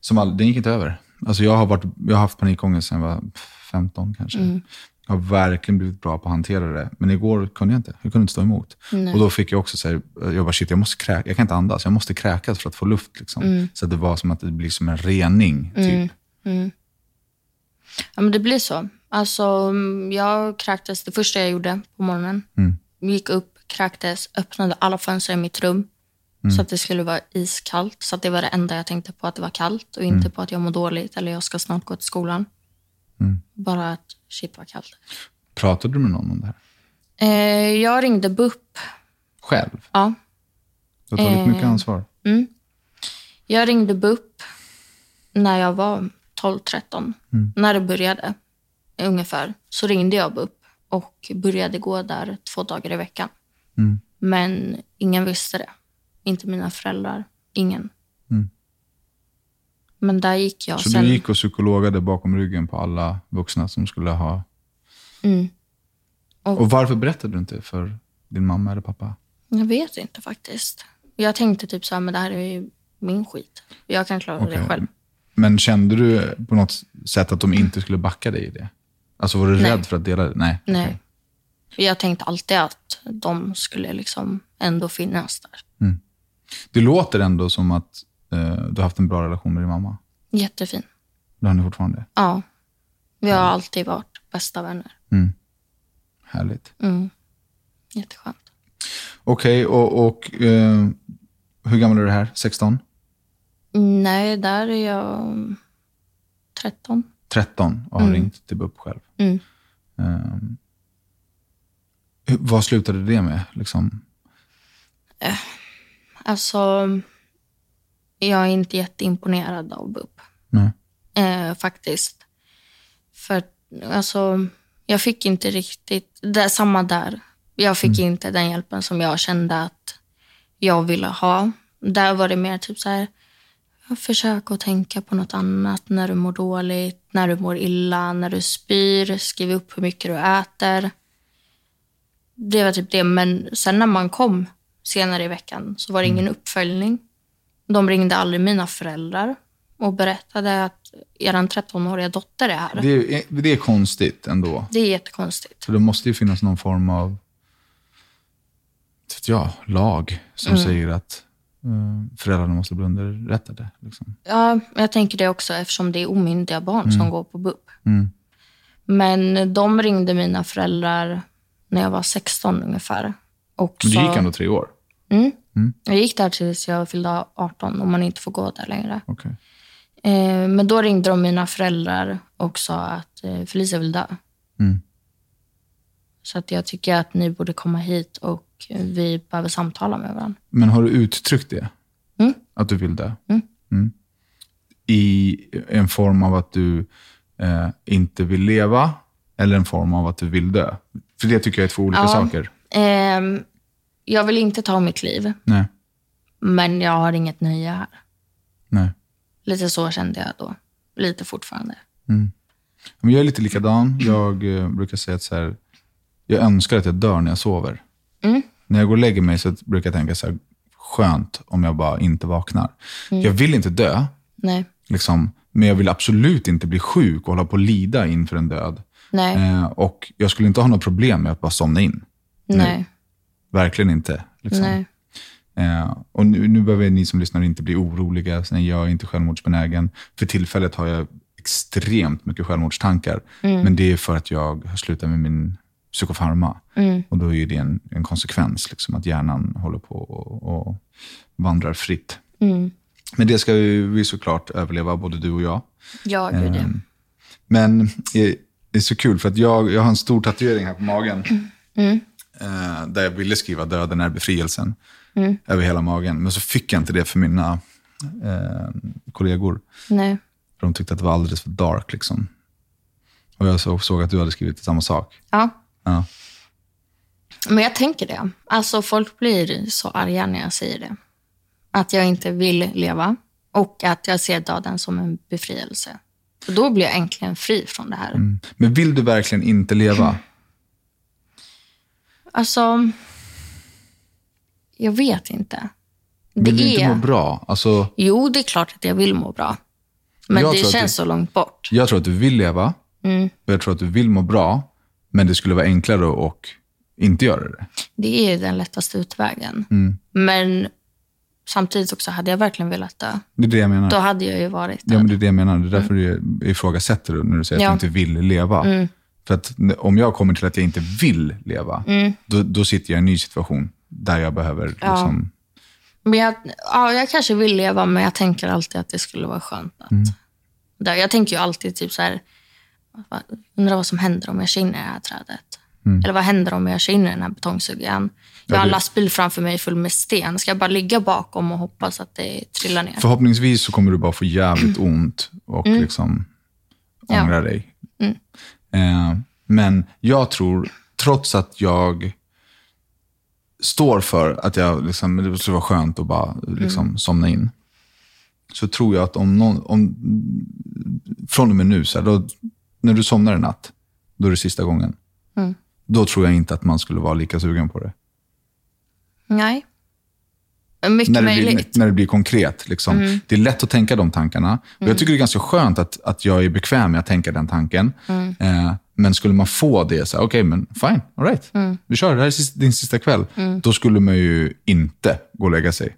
[SPEAKER 1] Som all, den gick inte över. Alltså jag, har varit, jag har haft panikångest sedan jag var 15 kanske. Jag har verkligen blivit bra på att hantera det. Men igår kunde jag inte. Jag kunde inte stå emot. Och då fick jag också så här, jag bara shit, jag måste kräka. Jag kan inte andas. Jag måste kräkas för att få luft. Liksom. Så att det var som att det blir som en rening. Typ.
[SPEAKER 2] Ja, men det blir så. Alltså, mm, jag kräktes det första jag gjorde på morgonen. Gick upp, kräktes, öppnade alla fönster i mitt rum så att det skulle vara iskallt. Så att det var det enda jag tänkte på, att det var kallt och inte på att jag mår dåligt eller jag ska snart gå till skolan. Bara att shit vad kallt.
[SPEAKER 1] Pratade du med någon om det här?
[SPEAKER 2] Eh, jag ringde BUP.
[SPEAKER 1] Själv?
[SPEAKER 2] Ja.
[SPEAKER 1] Du har tagit mycket ansvar.
[SPEAKER 2] Jag ringde BUP när jag var 12-13.
[SPEAKER 1] Mm.
[SPEAKER 2] När det började, ungefär, så ringde jag BUP och började gå där två dagar i veckan.
[SPEAKER 1] Mm.
[SPEAKER 2] Men ingen visste det. Inte mina föräldrar. Ingen. Men där gick jag
[SPEAKER 1] Mm. Så
[SPEAKER 2] sen.
[SPEAKER 1] du gick och psykologade bakom ryggen på alla vuxna som skulle ha...
[SPEAKER 2] Och-
[SPEAKER 1] Och, varför berättade du inte för din mamma eller pappa?
[SPEAKER 2] Jag vet inte faktiskt. Jag tänkte typ så här, men det här är ju min skit. Jag kan klara det
[SPEAKER 1] Okej.
[SPEAKER 2] själv.
[SPEAKER 1] Men kände du på något sätt att de inte skulle backa dig i det? Alltså var du
[SPEAKER 2] Nej.
[SPEAKER 1] rädd för att dela det? Nej.
[SPEAKER 2] Nej. Jag tänkte alltid att de skulle liksom ändå finnas där.
[SPEAKER 1] Det låter ändå som att eh, du har haft en bra relation med din mamma.
[SPEAKER 2] Jättefin.
[SPEAKER 1] Det har ni fortfarande.
[SPEAKER 2] Ja. Vi har alltid varit bästa vänner.
[SPEAKER 1] Härligt.
[SPEAKER 2] Mm. Jätteskönt.
[SPEAKER 1] Okej, och, och eh, hur gammal är du här? 16?
[SPEAKER 2] Nej, där är jag mm, 13.
[SPEAKER 1] 13 och har ringt till BUP själv.
[SPEAKER 2] Mm.
[SPEAKER 1] Ehm, hur- vad slutade det med? Liksom?
[SPEAKER 2] Alltså, jag är inte jätteimponerad av BUP.
[SPEAKER 1] Nej.
[SPEAKER 2] Eh, faktiskt. För alltså, jag fick inte riktigt, det är samma där. Jag fick inte den hjälpen som jag kände att jag ville ha. Där var det mer typ så här, försök att tänka på något annat när du mår dåligt, när du mår illa, när du spyr, skriv upp hur mycket du äter. Det var typ det, men sen när man kom senare i veckan så var det ingen uppföljning. De ringde aldrig mina föräldrar och berättade att er 13-åriga dotter är här.
[SPEAKER 1] Det är, det är konstigt ändå.
[SPEAKER 2] Det är jättekonstigt.
[SPEAKER 1] För det måste ju finnas någon form av vet jag, lag som
[SPEAKER 2] Mm.
[SPEAKER 1] säger att eh, föräldrarna måste bli underrättade. Liksom.
[SPEAKER 2] Ja, jag tänker det också eftersom det är omyndiga barn som går på BUP.
[SPEAKER 1] Mm.
[SPEAKER 2] Men de ringde mina föräldrar när jag var 16 ungefär. Och
[SPEAKER 1] Men du
[SPEAKER 2] sa-
[SPEAKER 1] gick ändå tre år?
[SPEAKER 2] Mm.
[SPEAKER 1] Mm.
[SPEAKER 2] Jag gick där tills jag fyllde 18 och man inte får gå där längre.
[SPEAKER 1] Okej.
[SPEAKER 2] Eh, men då ringde de mina föräldrar och sa att eh, Felicia vill dö.
[SPEAKER 1] Mm.
[SPEAKER 2] Så att jag tycker att ni borde komma hit och eh, vi behöver samtala med varandra.
[SPEAKER 1] Men har du uttryckt det?
[SPEAKER 2] Mm.
[SPEAKER 1] Att du vill det?
[SPEAKER 2] Mm.
[SPEAKER 1] Mm. I en form av att du eh, inte vill leva eller en form av att du vill dö? För det tycker jag är två olika
[SPEAKER 2] Ja.
[SPEAKER 1] saker.
[SPEAKER 2] Ehm, jag vill inte ta mitt liv,
[SPEAKER 1] Nej,
[SPEAKER 2] men jag har inget nöje här.
[SPEAKER 1] nej.
[SPEAKER 2] Lite så kände jag då. Lite fortfarande.
[SPEAKER 1] Men jag är lite likadan. Jag eh, brukar säga att så här, jag önskar att jag dör när jag sover.
[SPEAKER 2] Mm.
[SPEAKER 1] När jag går och lägger mig så brukar jag tänka så här, skönt om jag bara inte vaknar.
[SPEAKER 2] Mm.
[SPEAKER 1] Jag vill inte dö,
[SPEAKER 2] Nej.
[SPEAKER 1] liksom, men jag vill absolut inte bli sjuk och hålla på och lida inför en död.
[SPEAKER 2] Nej.
[SPEAKER 1] Eh, och jag skulle inte ha något problem med att bara somna in.
[SPEAKER 2] Nej.
[SPEAKER 1] Verkligen inte. Liksom.
[SPEAKER 2] Nej.
[SPEAKER 1] Eh, och nu, nu behöver ni som lyssnar inte bli oroliga. Sen jag är inte självmordsbenägen. För tillfället har jag extremt mycket självmordstankar.
[SPEAKER 2] Mm.
[SPEAKER 1] Men det är för att jag har slutat med min psykofarma.
[SPEAKER 2] Mm.
[SPEAKER 1] Och då är ju det en, en konsekvens, liksom, att hjärnan håller på och, och vandrar fritt.
[SPEAKER 2] Mm.
[SPEAKER 1] Men det ska vi, vi såklart överleva, både du och jag.
[SPEAKER 2] Ja, gud ja.
[SPEAKER 1] Ehm. Men det är så kul, för att jag, jag har en stor tatuering här på magen.
[SPEAKER 2] Mm.
[SPEAKER 1] Eh, där jag ville skriva döden är befrielsen
[SPEAKER 2] Mm.
[SPEAKER 1] över hela magen. Men så fick jag inte det för mina eh, kollegor.
[SPEAKER 2] Nej.
[SPEAKER 1] För de tyckte att det var alldeles för dark. Liksom. Och jag så, såg att du hade skrivit samma sak.
[SPEAKER 2] Ja.
[SPEAKER 1] Ja.
[SPEAKER 2] Men jag tänker det. Alltså folk blir så arga när jag säger det. Att jag inte vill leva och att jag ser döden som en befrielse. Och då blir jag äntligen fri från det här.
[SPEAKER 1] Mm. Men vill du verkligen inte leva?
[SPEAKER 2] Alltså, jag vet inte. Det
[SPEAKER 1] Vill du inte
[SPEAKER 2] är...
[SPEAKER 1] må bra? Alltså,
[SPEAKER 2] Jo, det är klart att jag vill må bra. Men
[SPEAKER 1] Jag
[SPEAKER 2] det
[SPEAKER 1] tror att
[SPEAKER 2] känns
[SPEAKER 1] det-
[SPEAKER 2] så långt bort.
[SPEAKER 1] jag tror att du vill leva.
[SPEAKER 2] Mm.
[SPEAKER 1] Och jag tror att du vill må bra. Men det skulle vara enklare att inte göra det.
[SPEAKER 2] Det är ju den lättaste utvägen.
[SPEAKER 1] Mm.
[SPEAKER 2] Men samtidigt också, hade jag verkligen velat dö,
[SPEAKER 1] Det är det jag menar.
[SPEAKER 2] då hade jag ju varit
[SPEAKER 1] Ja, men
[SPEAKER 2] död.
[SPEAKER 1] det är det jag menar. Det är därför mm. jag ifrågasätter det när du säger att
[SPEAKER 2] Ja.
[SPEAKER 1] du inte vill leva. För att n- om jag kommer till att jag inte vill leva, då, då sitter jag i en ny situation där jag behöver... Liksom,
[SPEAKER 2] Men jag, ja, jag kanske vill leva, men jag tänker alltid att det skulle vara skönt att
[SPEAKER 1] Mm.
[SPEAKER 2] dö. Jag tänker ju alltid typ så här, vad- undrar vad som händer om jag kör in i det här trädet. Eller vad händer om jag kör in i den här betongsugan? Jag har
[SPEAKER 1] Mm.
[SPEAKER 2] en
[SPEAKER 1] det-
[SPEAKER 2] lastbil framför mig full med sten. Ska jag bara ligga bakom och hoppas att det trillar ner?
[SPEAKER 1] Förhoppningsvis så kommer du bara få jävligt ont och liksom
[SPEAKER 2] Ja.
[SPEAKER 1] ångra dig. Eh, men jag tror, trots att jag står för att jag liksom, det skulle vara skönt att bara liksom, somna in, så tror jag att om någon, om, från och med nu, så här, då, när du somnar en natt, då är det sista gången. Då tror jag inte att man skulle vara lika sugen på det.
[SPEAKER 2] Nej. Mycket
[SPEAKER 1] när det, blir,
[SPEAKER 2] möjligt. Mm.
[SPEAKER 1] när det blir konkret. Liksom. Det är lätt att tänka de tankarna. Och jag tycker det är ganska skönt att, att jag är bekväm med att tänka den tanken.
[SPEAKER 2] Mm.
[SPEAKER 1] Eh, men skulle man få det, så här, okej, men fine, all right.
[SPEAKER 2] Mm.
[SPEAKER 1] Vi kör, det här är sista, din sista kväll. Då skulle man ju inte gå och lägga sig.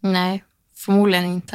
[SPEAKER 2] Nej, förmodligen inte.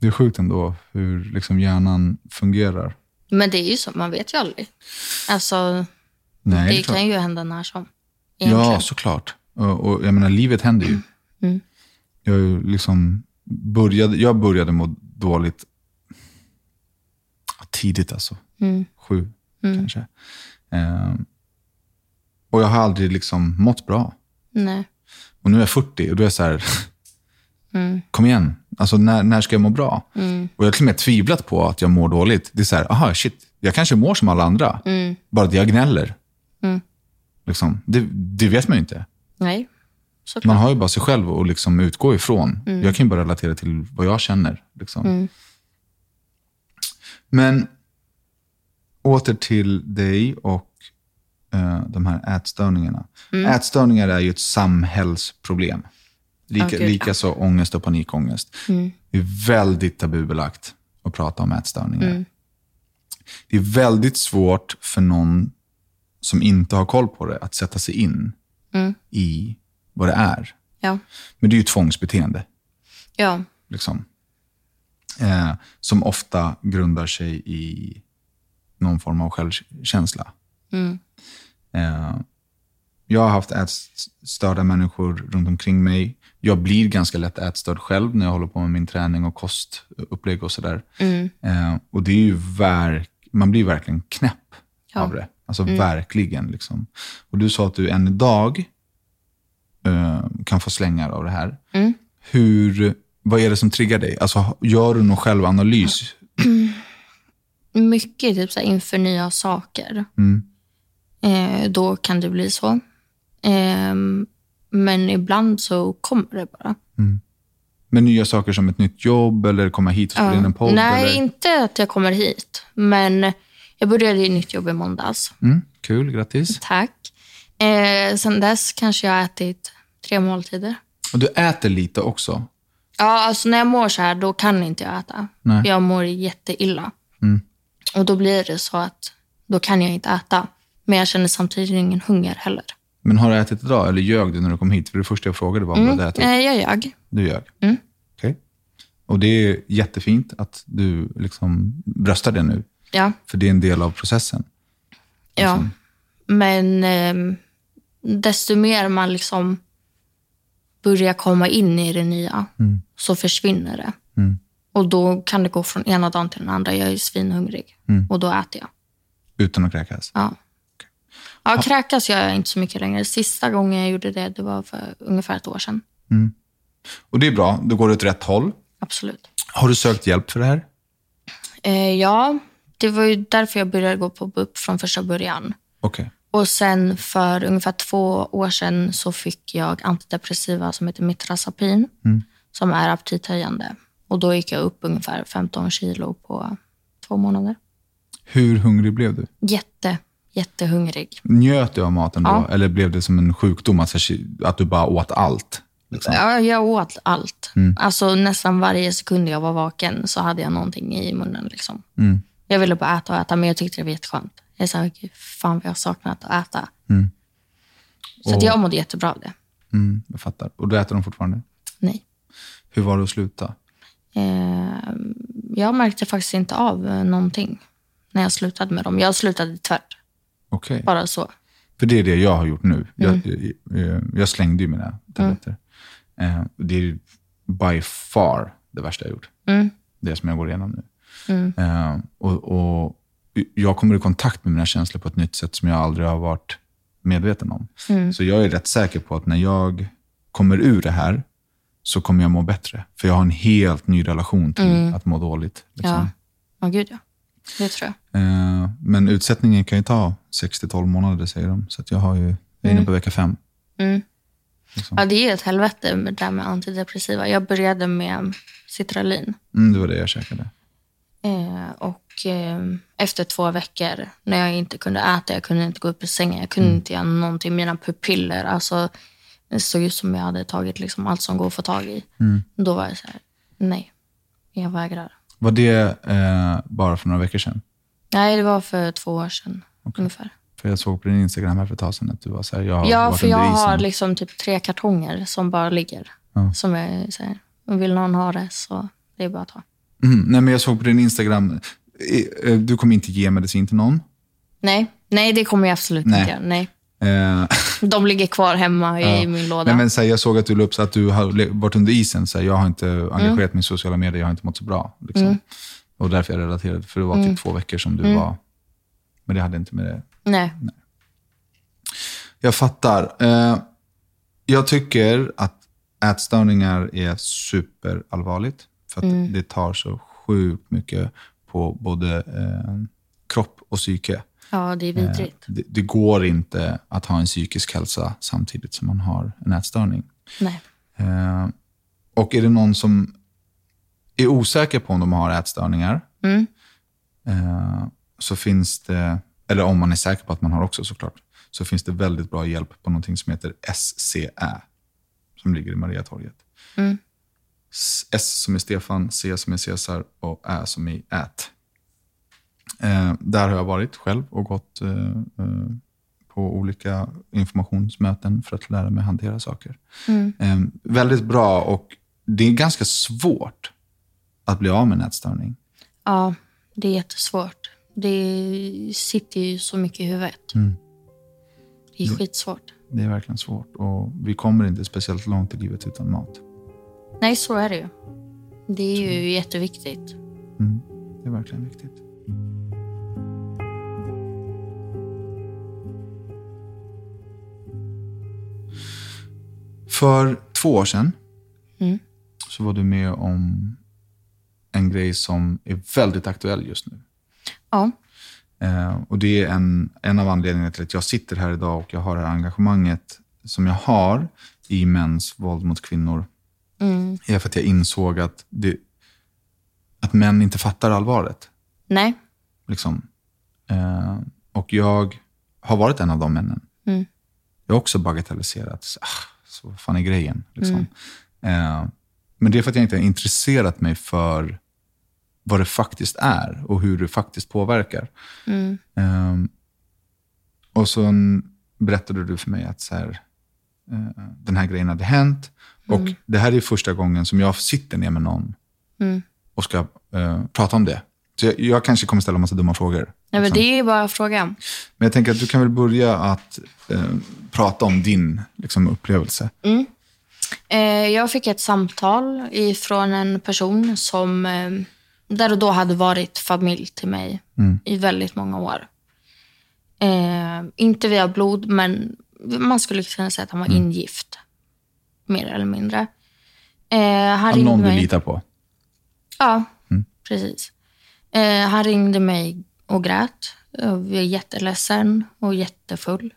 [SPEAKER 1] Det är sjukt ändå hur liksom hjärnan fungerar.
[SPEAKER 2] Men det är ju så, man vet ju aldrig. Alltså,
[SPEAKER 1] Nej,
[SPEAKER 2] det,
[SPEAKER 1] är klart.
[SPEAKER 2] kan ju hända när som.
[SPEAKER 1] Ja, såklart. Och, och jag menar, livet händer ju. Jag, är ju liksom började, jag började må dåligt ja, tidigt, alltså. Sju, kanske. Ehm, och jag har aldrig liksom mått bra.
[SPEAKER 2] Nej.
[SPEAKER 1] Och nu är jag 40 och då är jag så här, kom igen. Alltså, när, när ska jag må bra? Och jag har till och med tvivlat på att jag mår dåligt. Det är så här, aha, shit, jag kanske mår som alla andra. Bara att jag gnäller. Liksom. Det, det vet man ju inte.
[SPEAKER 2] Nej,
[SPEAKER 1] Man
[SPEAKER 2] såklart.
[SPEAKER 1] har ju bara sig själv att liksom utgå ifrån.
[SPEAKER 2] Mm.
[SPEAKER 1] Jag kan ju bara relatera till vad jag känner. Liksom. Men åter till dig och eh, de här ätstörningarna.
[SPEAKER 2] Mm.
[SPEAKER 1] Ätstörningar är ju ett samhällsproblem. Lika,
[SPEAKER 2] Ja, Mm. gud,
[SPEAKER 1] lika så ångest och panikångest. Det är väldigt tabubelagt att prata om ätstörningar.
[SPEAKER 2] Mm.
[SPEAKER 1] Det är väldigt svårt för någon som inte har koll på det att sätta sig in
[SPEAKER 2] Mm.
[SPEAKER 1] i vad det är.
[SPEAKER 2] Ja.
[SPEAKER 1] Men det är ju ett tvångsbeteende.
[SPEAKER 2] ja,
[SPEAKER 1] Liksom. Eh, som ofta grundar sig i någon form av självkänsla. Eh, jag har haft ätstörda människor runt omkring mig. Jag blir ganska lätt ätstörd själv när jag håller på med min träning och kostupplägg och sådär. Eh, och det är ju verk, man blir verkligen knäpp av det. Alltså verkligen. Liksom. Och du sa att du än idag eh, kan få slängar av det här. Hur, vad är det som triggar dig? Alltså, gör du någon självanalys?
[SPEAKER 2] mycket typ så här, inför nya saker.
[SPEAKER 1] Mm.
[SPEAKER 2] Eh, då kan det bli så. Ehm, men ibland så kommer det bara.
[SPEAKER 1] Med nya saker som ett nytt jobb eller komma hit och spela in en podd?
[SPEAKER 2] Nej,
[SPEAKER 1] eller?
[SPEAKER 2] inte att jag kommer hit. Men jag började i nytt jobb i måndags.
[SPEAKER 1] Mm, kul, grattis.
[SPEAKER 2] Tack. Eh, sen dess kanske jag har ätit tre måltider.
[SPEAKER 1] Och du äter lite också?
[SPEAKER 2] Ja, alltså när jag mår så här, då kan inte jag äta.
[SPEAKER 1] Nej.
[SPEAKER 2] Jag mår jätteilla. Och då blir det så att då kan jag inte äta. Men jag känner samtidigt ingen hunger heller.
[SPEAKER 1] Men har du ätit idag eller ljög du när du kom hit? För det första jag frågade var om du hade ätit.
[SPEAKER 2] Eh, jag ljög.
[SPEAKER 1] Du ljög? Mm. Okej. Och det är jättefint att du liksom bröstar det nu.
[SPEAKER 2] Ja,
[SPEAKER 1] För det är en del av processen.
[SPEAKER 2] ja. Men ehm, desto mer man liksom börjar komma in i det nya så försvinner det. Och då kan det gå från ena dagen till den andra. Jag är ju svinhungrig och då äter jag.
[SPEAKER 1] Utan att kräkas.
[SPEAKER 2] Ja. Ja, kräkas gör jag inte så mycket längre. Sista gången jag gjorde det, det var för ungefär ett år sedan.
[SPEAKER 1] Och det är bra, du går åt rätt håll.
[SPEAKER 2] Absolut.
[SPEAKER 1] Har du sökt hjälp för det här?
[SPEAKER 2] Eh, ja, det var ju därför jag började gå på BUP från första början.
[SPEAKER 1] Okej.
[SPEAKER 2] Och sen för ungefär två år sedan så fick jag antidepressiva som heter Mitrazapin, som är aptithöjande. Och då gick jag upp ungefär 15 kilo på två månader.
[SPEAKER 1] Hur hungrig blev du?
[SPEAKER 2] Jätte, jättehungrig.
[SPEAKER 1] Njöt du av maten då? Eller blev det som en sjukdom, alltså, att du bara åt allt? Liksom?
[SPEAKER 2] Ja, jag åt allt. Alltså nästan varje sekund jag var vaken så hade jag någonting i munnen. Liksom. Jag ville bara äta och äta, men jag tyckte det var jätteskönt. Jag sa, "Gud, fan vad jag har saknat att äta. Så att
[SPEAKER 1] Och-
[SPEAKER 2] jag mådde jättebra av det.
[SPEAKER 1] Mm, jag fattar. Och du äter dem fortfarande?
[SPEAKER 2] Nej.
[SPEAKER 1] Hur var det att sluta?
[SPEAKER 2] Eh, jag märkte faktiskt inte av eh, någonting när jag slutade med dem. Jag slutade tvärt,
[SPEAKER 1] Okej.
[SPEAKER 2] bara så.
[SPEAKER 1] För det är det jag har gjort nu.
[SPEAKER 2] Mm.
[SPEAKER 1] Jag, eh, jag slängde ju mina tabletter. Eh, Det är by far det värsta jag gjort.
[SPEAKER 2] Mm.
[SPEAKER 1] Det som jag går igenom nu.
[SPEAKER 2] Mm.
[SPEAKER 1] Eh, och, och jag kommer i kontakt med mina känslor på ett nytt sätt som jag aldrig har varit medveten om.
[SPEAKER 2] Mm.
[SPEAKER 1] Så jag är rätt säker på att när jag kommer ur det här så kommer jag må bättre. För jag har en helt ny relation till
[SPEAKER 2] Mm.
[SPEAKER 1] att må dåligt. Liksom.
[SPEAKER 2] Ja. Ja, gud ja. Det tror jag.
[SPEAKER 1] Eh, Men utsättningen kan ju ta 6-12 månader, säger de. Så att jag, har ju, jag är inne på vecka fem.
[SPEAKER 2] Mm.
[SPEAKER 1] Liksom.
[SPEAKER 2] Ja, det är ett helvete med det där med antidepressiva. Jag började med Citralin.
[SPEAKER 1] Mm, det var det jag käkade.
[SPEAKER 2] Eh, och eh, efter två veckor, när jag inte kunde äta, jag kunde inte gå upp ur sängen, jag
[SPEAKER 1] Mm.
[SPEAKER 2] kunde inte göra någonting. Mina pupiller, alltså, det såg ut som jag hade tagit liksom allt som går att få tag i.
[SPEAKER 1] Mm.
[SPEAKER 2] Då var jag så här, nej, jag vägrar.
[SPEAKER 1] Var det eh, bara för några veckor sedan?
[SPEAKER 2] Nej, det var för två år sedan ungefär.
[SPEAKER 1] För jag såg på din Instagram här för ett tag sedan att du var så här, jag har
[SPEAKER 2] Ja,
[SPEAKER 1] varit
[SPEAKER 2] för jag
[SPEAKER 1] under isen.
[SPEAKER 2] har liksom typ tre kartonger som bara ligger. Som jag säger, vill någon ha det så det är bara att ta.
[SPEAKER 1] Mm, nej, men jag såg på din Instagram, eh, eh, du kommer inte ge medicin till någon.
[SPEAKER 2] Nej, nej det kommer jag absolut
[SPEAKER 1] Nej.
[SPEAKER 2] inte göra. Nej.
[SPEAKER 1] Eh,
[SPEAKER 2] De ligger kvar hemma i min låda.
[SPEAKER 1] nej, men så här, jag såg att du la upp så att du har le- varit under isen. Så här, jag har inte
[SPEAKER 2] Mm.
[SPEAKER 1] engagerat mig i sociala medier, jag har inte mått så bra. Liksom. Och därför jag relaterade, för det
[SPEAKER 2] Mm.
[SPEAKER 1] var typ två veckor som du var... Men det hade inte med det
[SPEAKER 2] nej.
[SPEAKER 1] Jag fattar. Eh, jag tycker att ätstörningar är superallvarligt. För att det tar så sjukt mycket på både eh, kropp och psyke.
[SPEAKER 2] Ja, det är vidrigt.
[SPEAKER 1] Det, det går inte att ha en psykisk hälsa samtidigt som man har en ätstörning.
[SPEAKER 2] Nej.
[SPEAKER 1] Eh, och är det någon som är osäker på om de har ätstörningar,
[SPEAKER 2] Mm.
[SPEAKER 1] eh, så finns det, eller om man är säker på att man har också såklart, så finns det väldigt bra hjälp på någonting som heter SCE, som ligger i Mariatorget.
[SPEAKER 2] Mm.
[SPEAKER 1] S- S som är Stefan, C som är Cesar och Ä som är Ät. Eh, där har jag varit själv och gått eh, eh, på olika informationsmöten för att lära mig hantera saker. Eh, väldigt bra och det är ganska svårt att bli av med en ätstörning.
[SPEAKER 2] Ja, det är jättesvårt. Det sitter ju så mycket i huvudet. Det är skitsvårt.
[SPEAKER 1] Det är verkligen svårt och vi kommer inte speciellt långt i livet utan mat.
[SPEAKER 2] Nej, så är det ju. Det är ju jätteviktigt.
[SPEAKER 1] Mm. Det är verkligen viktigt. För två år sedan
[SPEAKER 2] Mm.
[SPEAKER 1] så var du med om en grej som är väldigt aktuell just nu.
[SPEAKER 2] Ja.
[SPEAKER 1] Eh, och Det är en, en av anledningarna till att jag sitter här idag och jag har det här engagemanget som jag har i mäns våld mot kvinnor.
[SPEAKER 2] Mm.
[SPEAKER 1] är för att jag insåg att, det, att män inte fattar allvaret.
[SPEAKER 2] Nej.
[SPEAKER 1] Liksom. Eh, och jag har varit en av de männen.
[SPEAKER 2] Mm.
[SPEAKER 1] Jag har också bagatelliserat. Så, ah, så vad fan är grejen? Liksom.
[SPEAKER 2] Mm.
[SPEAKER 1] Eh, men det är för att jag inte har intresserat mig för vad det faktiskt är och hur det faktiskt påverkar.
[SPEAKER 2] Mm.
[SPEAKER 1] Ehm, och så berättade du för mig att så här, eh, den här grejen hade hänt. Och det här är första gången som jag sitter ner med någon
[SPEAKER 2] Mm.
[SPEAKER 1] och ska eh, prata om det. Så jag, jag kanske kommer ställa massa dumma frågor.
[SPEAKER 2] Nej, men
[SPEAKER 1] liksom.
[SPEAKER 2] det är ju bara att fråga.
[SPEAKER 1] Men jag tänker att du kan väl börja att eh, prata om din liksom, upplevelse.
[SPEAKER 2] Eh, jag fick ett samtal ifrån en person som eh, där och då hade varit familj till mig i väldigt många år. Eh, inte via blod, men man skulle kunna säga att han var ingift. Mer eller mindre. Eh, han ringde
[SPEAKER 1] Någon du
[SPEAKER 2] mig.
[SPEAKER 1] litar på.
[SPEAKER 2] Ja,
[SPEAKER 1] Mm.
[SPEAKER 2] precis. Eh, han ringde mig och grät. Jag var jätteledsen och jättefull.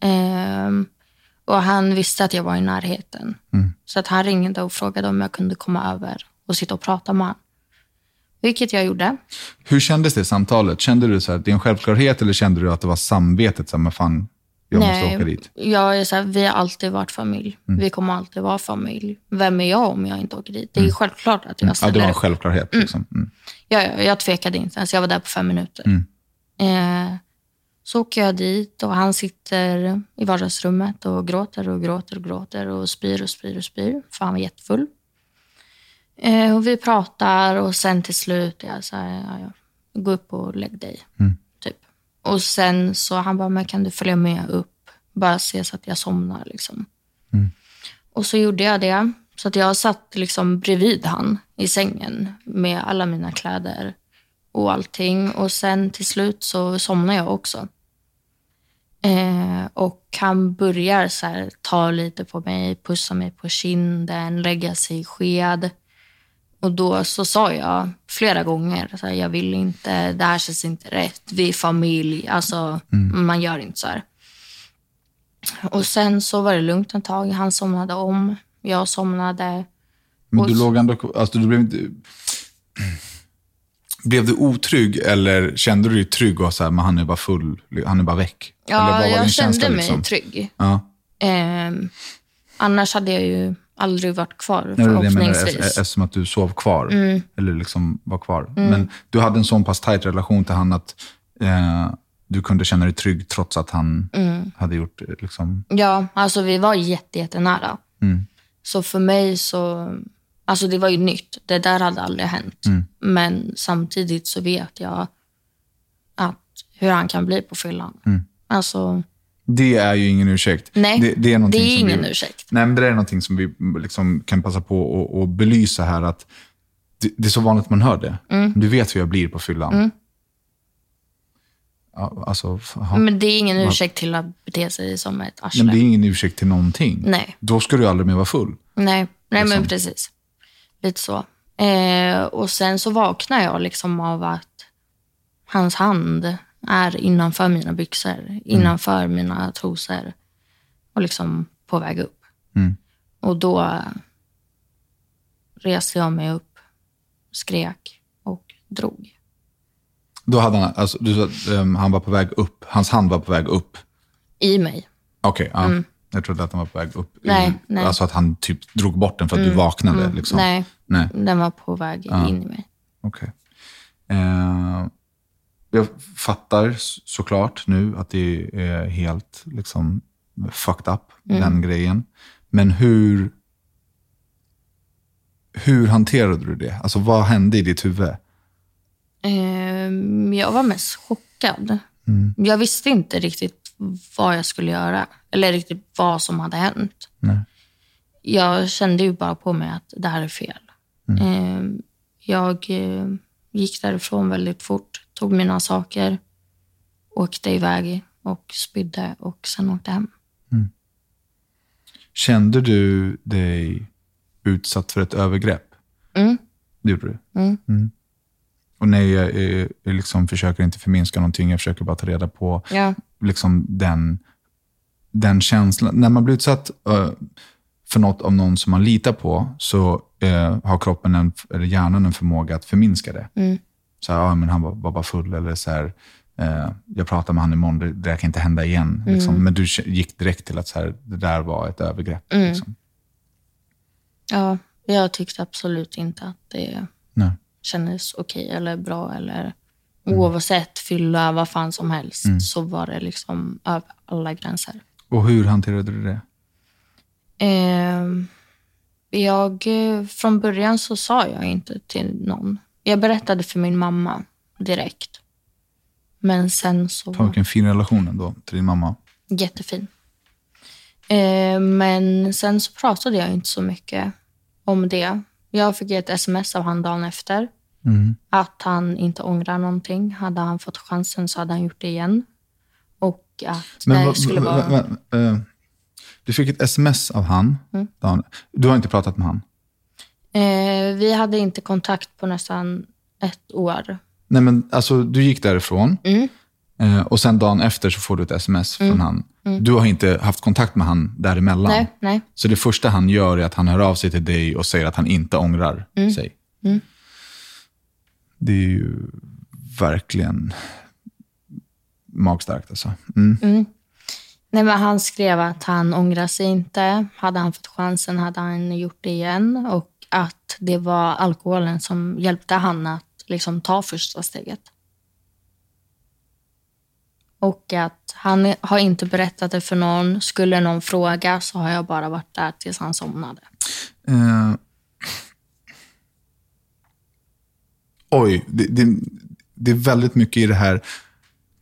[SPEAKER 2] Ehm, och han visste att jag var i närheten.
[SPEAKER 1] Mm.
[SPEAKER 2] Så att han ringde och frågade om jag kunde komma över och sitta och prata med honom. Vilket jag gjorde.
[SPEAKER 1] Hur kändes det samtalet? Kände du så här, att det är en självklarhet eller kände du att det var samvetet? Så här, men fan, jag måste åka dit. Mm.
[SPEAKER 2] Jag är så här, vi har alltid varit familj. Vi kommer alltid vara familj. Vem är jag om jag inte åker dit? Det är självklart att jag
[SPEAKER 1] Mm. Ja, det
[SPEAKER 2] ställer
[SPEAKER 1] var en
[SPEAKER 2] upp.
[SPEAKER 1] självklarhet. Liksom. Mm.
[SPEAKER 2] Ja, ja, jag tvekade inte ens. Jag var där på fem minuter. Eh, så åker jag dit och han sitter i vardagsrummet och gråter och gråter och gråter och spyr och spyr och spyr, för han var jättefull. Eh, och vi pratar och sen till slut är jag så här, ja, ja, gå upp och lägg dig. Typ. Och sen så han bara, men kan du följa med upp? Bara se så att jag somnar liksom. Och så gjorde jag det. Så att jag satt liksom bredvid han i sängen med alla mina kläder och allting. Och sen till slut så somnade jag också. Eh, och han börjar så här, ta lite på mig, pussa mig på kinden, lägga sig i sked. Och då så sa jag flera gånger, så här, jag vill inte, det här känns inte rätt, vi är familj, alltså man gör inte så här. Och sen så var det lugnt ett tag, han somnade om, jag somnade.
[SPEAKER 1] Men
[SPEAKER 2] Och
[SPEAKER 1] du
[SPEAKER 2] så-
[SPEAKER 1] låg ändå... Alltså, du blev inte... Blev du otrygg eller kände du dig trygg och så här, men han är bara full, han är bara väck? eller vad
[SPEAKER 2] Ja,
[SPEAKER 1] var
[SPEAKER 2] jag
[SPEAKER 1] din
[SPEAKER 2] kände
[SPEAKER 1] känsla,
[SPEAKER 2] mig
[SPEAKER 1] liksom?
[SPEAKER 2] trygg.
[SPEAKER 1] Ja.
[SPEAKER 2] Ehm, annars hade jag ju aldrig varit kvar
[SPEAKER 1] Nej, det är det jag menar,
[SPEAKER 2] förhoppningsvis. Mm.
[SPEAKER 1] e- e- eftersom att du sov kvar. Eller liksom var kvar. Men du hade en sån pass tajt relation till han att eh, du kunde känna dig trygg trots att han
[SPEAKER 2] Mm.
[SPEAKER 1] hade gjort... eh, Liksom,
[SPEAKER 2] Ja, alltså vi var jätte, jättenära.
[SPEAKER 1] Mm.
[SPEAKER 2] Så för mig så, alltså det var ju nytt. Det där hade aldrig hänt.
[SPEAKER 1] Mm.
[SPEAKER 2] Men samtidigt så vet jag att hur han kan bli på fyllan. Alltså,
[SPEAKER 1] det är ju ingen ursäkt.
[SPEAKER 2] nej,
[SPEAKER 1] Mm. det, det är,
[SPEAKER 2] det
[SPEAKER 1] någonting
[SPEAKER 2] är
[SPEAKER 1] som
[SPEAKER 2] ingen
[SPEAKER 1] vi,
[SPEAKER 2] ursäkt.
[SPEAKER 1] Nej, men det är någonting som vi liksom kan passa på och, och belysa här. att det, det är så vanligt man hör det.
[SPEAKER 2] Mm.
[SPEAKER 1] Du vet hur jag blir på fyllan. Ja, alltså, fan.
[SPEAKER 2] Men det är ingen ursäkt till att bete sig som ett arsle.
[SPEAKER 1] men det är ingen ursäkt till någonting.
[SPEAKER 2] Nej.
[SPEAKER 1] Då ska du aldrig mer vara full.
[SPEAKER 2] Nej, nej men
[SPEAKER 1] Liksom.
[SPEAKER 2] precis. Lite så. Eh, och sen så vaknar jag liksom av att hans hand är innanför mina byxor,
[SPEAKER 1] Mm.
[SPEAKER 2] innanför mina trosor och liksom på väg upp.
[SPEAKER 1] Mm.
[SPEAKER 2] Och då reste jag mig upp, skrek och drog.
[SPEAKER 1] Då hade han, alltså, du sa att ehm, han var på väg upp. Hans hand var på väg upp.
[SPEAKER 2] I mig.
[SPEAKER 1] Okej, ja. Jag trodde att han var på väg upp. ur-
[SPEAKER 2] Mm. Nej, nej. Mm.
[SPEAKER 1] Alltså att han typ drog bort den för att du vaknade. Liksom.
[SPEAKER 2] Nej,
[SPEAKER 1] nej.
[SPEAKER 2] den var på väg in i mig.
[SPEAKER 1] Okej. Eh, jag fattar s- såklart nu att det är helt liksom, fucked up,
[SPEAKER 2] Mm.
[SPEAKER 1] den grejen. Men hur, hur hanterade du det? Alltså vad hände i ditt huvud?
[SPEAKER 2] Ehm, Jag var mest chockad. Jag visste inte riktigt vad jag skulle göra eller riktigt vad som hade hänt.
[SPEAKER 1] Nej.
[SPEAKER 2] Jag kände ju bara på mig att det här är fel. Ehm, Jag eh, gick därifrån väldigt fort, tog mina saker, åkte iväg och spydde och sen åkte hem.
[SPEAKER 1] Kände du dig utsatt för ett övergrepp?
[SPEAKER 2] Mm.
[SPEAKER 1] Det gjorde du? Mm. Och nej, jag, eh, jag liksom försöker inte förminska någonting. Jag försöker bara ta reda på
[SPEAKER 2] Ja.
[SPEAKER 1] liksom den, den känslan. När man blir utsatt eh, för något av någon som man litar på så eh, har kroppen en, eller hjärnan en förmåga att förminska det.
[SPEAKER 2] Mm.
[SPEAKER 1] Så här, ja, men han var, var bara full eller så här, eh, jag pratar med han imorgon, det, det här kan inte hända igen.
[SPEAKER 2] Mm.
[SPEAKER 1] Liksom. Men du k- gick direkt till att så här, det där var ett övergrepp.
[SPEAKER 2] Mm.
[SPEAKER 1] Liksom.
[SPEAKER 2] ja, jag tyckte absolut inte att det
[SPEAKER 1] Nej.
[SPEAKER 2] kändes okej eller bra eller oavsett fylla, vad fan som helst, så var det liksom över alla gränser.
[SPEAKER 1] Och hur hanterade du det?
[SPEAKER 2] Ehm, jag, eh, från början så sa jag inte till någon. Jag berättade för min mamma direkt. Men sen så...
[SPEAKER 1] Fan, vilken fin relation ändå till din mamma.
[SPEAKER 2] Jättefin. Eh, men sen så pratade jag inte så mycket om det. Jag fick ett sms av han dagen efter. Att han inte ångrar någonting. Hade han fått chansen så hade han gjort det igen. Och att det
[SPEAKER 1] vad-
[SPEAKER 2] skulle
[SPEAKER 1] vad-
[SPEAKER 2] vara...
[SPEAKER 1] vad- vad- eh, du fick ett sms av han.
[SPEAKER 2] Mm.
[SPEAKER 1] Dan. Du har inte pratat med han?
[SPEAKER 2] Eh, vi hade inte kontakt på nästan ett år.
[SPEAKER 1] Nej, men alltså, du gick därifrån eh, och sen dagen efter så får du ett sms från han. Du har inte haft kontakt med han däremellan.
[SPEAKER 2] Nej, nej.
[SPEAKER 1] Så det första han gör är att han hör av sig till dig och säger att han inte ångrar sig. Det är ju verkligen magstarkt alltså. Mm.
[SPEAKER 2] Nej, men han skrev att han ångrar sig inte. Hade han fått chansen hade han gjort det igen. Och att det var alkoholen som hjälpte han att liksom, ta första steget. Och att han har inte berättat det för någon. Skulle någon fråga så har jag bara varit där tills han somnade.
[SPEAKER 1] Eh. Oj, det, det, det är väldigt mycket i det här.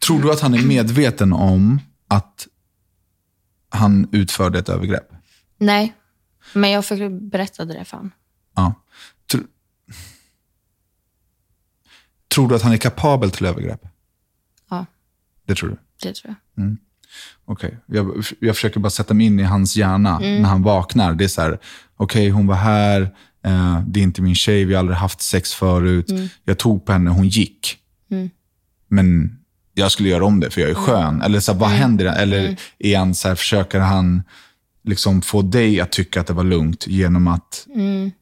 [SPEAKER 1] Tror du att han är medveten om att han utförde ett övergrepp?
[SPEAKER 2] Nej, Men jag fick berättade det för honom.
[SPEAKER 1] Ja. Tr- tror du att han är kapabel till övergrepp?
[SPEAKER 2] Ja,
[SPEAKER 1] Det tror du?
[SPEAKER 2] det tror jag.
[SPEAKER 1] Okej. Jag, jag försöker bara sätta mig in i hans hjärna när han vaknar. Det är så här, okej hon var här, eh, det är inte min tjej, vi har aldrig haft sex förut. Jag tog på henne, hon gick. Men jag skulle göra om det för jag är skön. Eller så här, vad händer? Eller är han så här, försöker han liksom få dig att tycka att det var lugnt genom att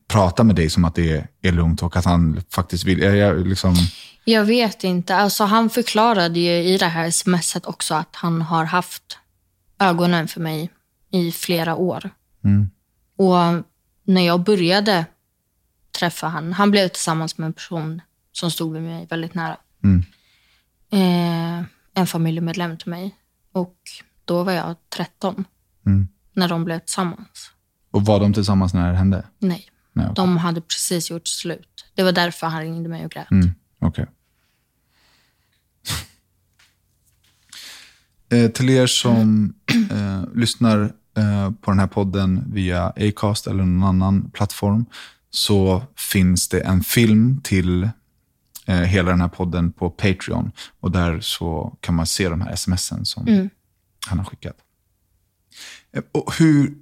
[SPEAKER 1] prata med dig som att det är, är lugnt och att han faktiskt vill... Jag, jag, liksom,
[SPEAKER 2] Jag vet inte. Alltså, han förklarade ju i det här smset också att han har haft ögonen för mig i flera år.
[SPEAKER 1] Mm.
[SPEAKER 2] Och när jag började träffa han, han blev tillsammans med en person som stod med mig väldigt nära.
[SPEAKER 1] Mm.
[SPEAKER 2] Eh, en familjemedlem till mig. Och då var jag 13
[SPEAKER 1] Mm.
[SPEAKER 2] när de blev tillsammans.
[SPEAKER 1] och var de tillsammans när det hände?
[SPEAKER 2] Nej,
[SPEAKER 1] Nej, okej.
[SPEAKER 2] de hade precis gjort slut. Det var därför han ringde mig och grät.
[SPEAKER 1] Mm, Okej. eh, till er som eh, lyssnar eh, på den här podden via Acast eller någon annan plattform så finns det en film till eh, hela den här podden på Patreon. Och där så kan man se de här smsen som han har skickat. Eh, Och hur,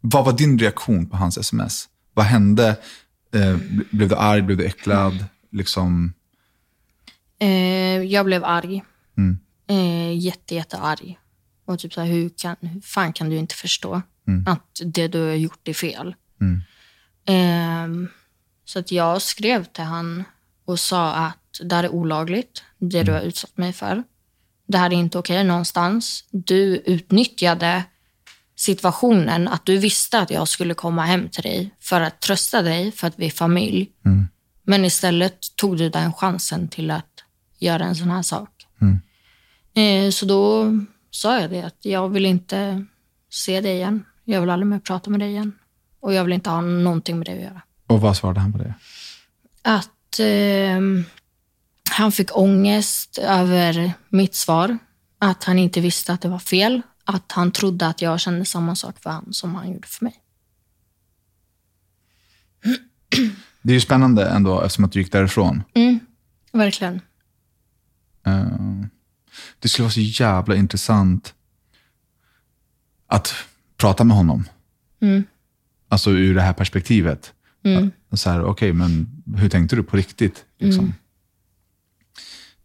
[SPEAKER 1] vad var din reaktion på hans sms? Vad hände? Eh, bl- blev du arg? Blev du äcklad? Liksom,
[SPEAKER 2] Eh, jag blev arg. Eh, jätte, jättearg. Och typ så här, hur, kan, hur fan kan du inte förstå att det du har gjort är fel? Ehm, så att jag skrev till han och sa att det här är olagligt, det du har utsatt mig för. Det här är inte okej någonstans. Du utnyttjade situationen, att du visste att jag skulle komma hem till dig för att trösta dig för att vi är familj. Men istället tog du den chansen till att göra en sån här sak. Eh, Så då sa jag det, att jag vill inte se dig igen. Jag vill aldrig mer prata med dig igen. Och jag vill inte ha någonting med dig att göra.
[SPEAKER 1] och vad svarade han på det?
[SPEAKER 2] Att ehm, han fick ångest över mitt svar. Att han inte visste att det var fel. Att han trodde att jag kände samma sak för honom som han gjorde för mig.
[SPEAKER 1] Det är ju spännande ändå eftersom att du gick därifrån.
[SPEAKER 2] Verkligen.
[SPEAKER 1] Eh, det skulle vara så jävla intressant att prata med honom. Alltså ur det här perspektivet. Att- Så här, okej, men hur tänkte du på riktigt? Liksom.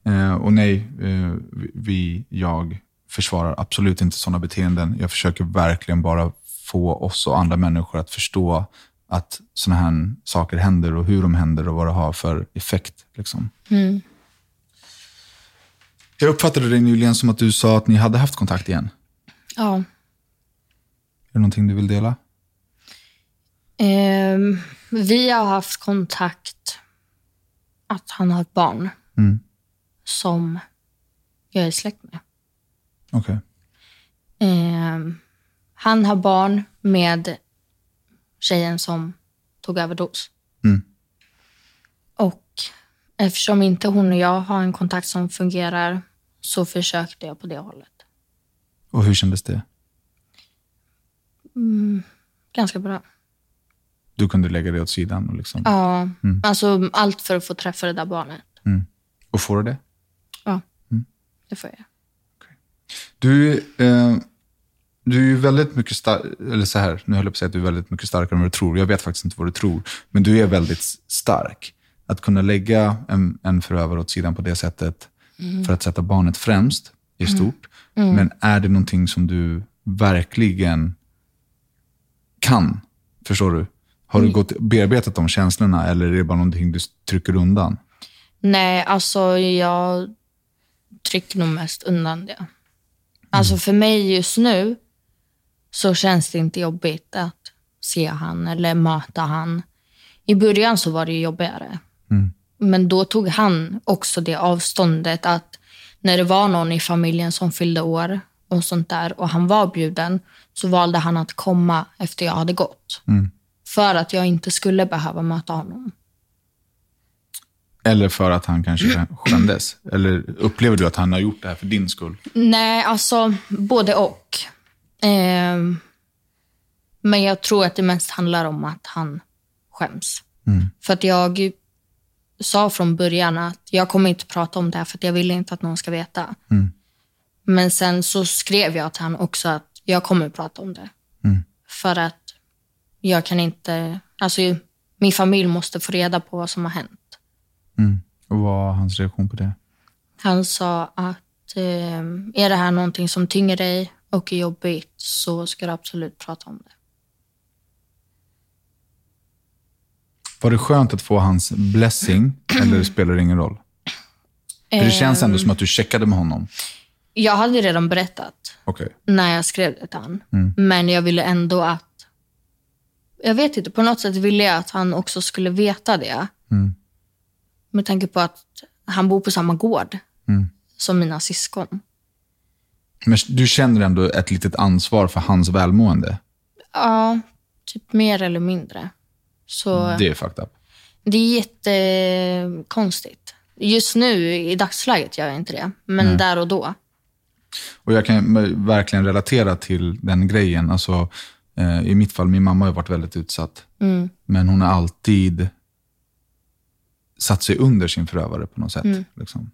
[SPEAKER 1] Eh, och nej, eh, vi- vi, jag försvarar absolut inte sådana beteenden. Jag försöker verkligen bara få oss och andra människor att förstå att sådana här saker händer och hur de händer och vad det har för effekt. Liksom. Jag uppfattade det nyligen som att du sa att ni hade haft kontakt igen.
[SPEAKER 2] Ja.
[SPEAKER 1] Är det någonting du vill dela?
[SPEAKER 2] Ehm, vi har haft kontakt att han har ett barn som jag är släkt med.
[SPEAKER 1] Okej.
[SPEAKER 2] Ehm, han har barn med tjejen som tog överdos.
[SPEAKER 1] Mm.
[SPEAKER 2] Och eftersom inte hon och jag har en kontakt som fungerar så försökte jag på det hållet.
[SPEAKER 1] Och hur kändes det?
[SPEAKER 2] Ganska bra.
[SPEAKER 1] Du kunde lägga det åt sidan och, liksom,
[SPEAKER 2] Ja, alltså allt för att få träffa det där barnet.
[SPEAKER 1] och får du det?
[SPEAKER 2] Ja, det får jag.
[SPEAKER 1] Du, eh, du är ju väldigt mycket stark, eller så här, nu höll jag på att säga att du är väldigt mycket starkare än vad du tror. Jag vet faktiskt inte vad du tror, men du är väldigt s- stark. Att kunna lägga en, en förövare åt sidan på det sättet för att sätta barnet främst är stort. Men är det någonting som du verkligen kan? Förstår du? Har du gått, bearbetat de känslorna eller är det bara någonting du s- trycker undan?
[SPEAKER 2] Nej, alltså jag trycker nog mest undan det. Alltså för mig just nu så känns det inte jobbigt att se han eller möta han. I början så var det ju jobbigare. Men då tog han också det avståndet att när det var någon i familjen som fyllde år och sånt där och han var bjuden så valde han att komma efter jag hade gått. För att jag inte skulle behöva möta honom.
[SPEAKER 1] Eller för att han kanske skämdes? Eller upplever du att han har gjort det här för din skull?
[SPEAKER 2] Nej, alltså både och. Ehm, Men jag tror att det mest handlar om att han skäms. För att jag sa från början att jag kommer inte prata om det här för att jag vill inte att någon ska veta. Men sen så skrev jag till han också att jag kommer prata om det. För att jag kan inte... Alltså, min familj måste få reda på vad som har hänt.
[SPEAKER 1] Mm. Och vad var hans reaktion på det?
[SPEAKER 2] Han sa att eh, är det här någonting som tynger dig och är jobbigt så ska du absolut prata om det.
[SPEAKER 1] Var det skönt att få hans blessing eller spelar det ingen roll? För det känns ändå som att du checkade med honom.
[SPEAKER 2] Ehm, Jag hade redan berättat
[SPEAKER 1] Okej.
[SPEAKER 2] när jag skrev det till han.
[SPEAKER 1] Mm.
[SPEAKER 2] Men jag ville ändå att... Jag vet inte, på något sätt ville jag att han också skulle veta det.
[SPEAKER 1] Mm.
[SPEAKER 2] Med tanke på att han bor på samma gård
[SPEAKER 1] Mm.
[SPEAKER 2] som mina syskon.
[SPEAKER 1] Men du känner ändå ett litet ansvar för hans välmående.
[SPEAKER 2] Ja, typ mer eller mindre. Så
[SPEAKER 1] Det är fucked up.
[SPEAKER 2] det är jättekonstigt. Just nu, i dagsläget, gör jag inte det. Men där och då.
[SPEAKER 1] Och jag kan eh, verkligen relatera till den grejen. Alltså, eh, I mitt fall, min mamma har ju varit väldigt utsatt. Men hon har alltid satt sig under sin förövare på något sätt. Liksom.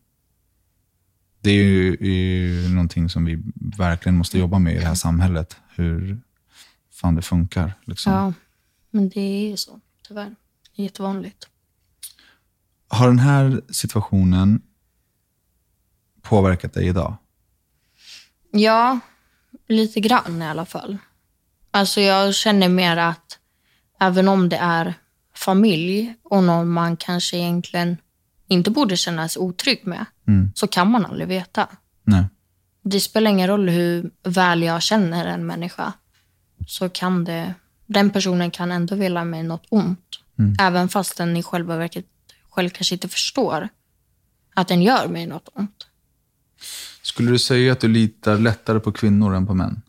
[SPEAKER 1] Det är ju, är ju någonting som vi verkligen måste jobba med i det här samhället. Hur fan det funkar. Liksom.
[SPEAKER 2] Ja, men det är ju så, tyvärr. Det är jättevanligt.
[SPEAKER 1] Har den här situationen påverkat dig idag?
[SPEAKER 2] Ja, lite grann i alla fall. Alltså jag känner mer att även om det är familj och någon man kanske egentligen inte borde känna sig otrygg med, så kan man aldrig veta.
[SPEAKER 1] Nej.
[SPEAKER 2] Det spelar ingen roll hur väl jag känner en människa, så kan det, den personen kan ändå vilja mig något ont. Även fast den i själva verket själv kanske inte förstår att den gör mig något ont.
[SPEAKER 1] Skulle du säga att du litar lättare på kvinnor än på män?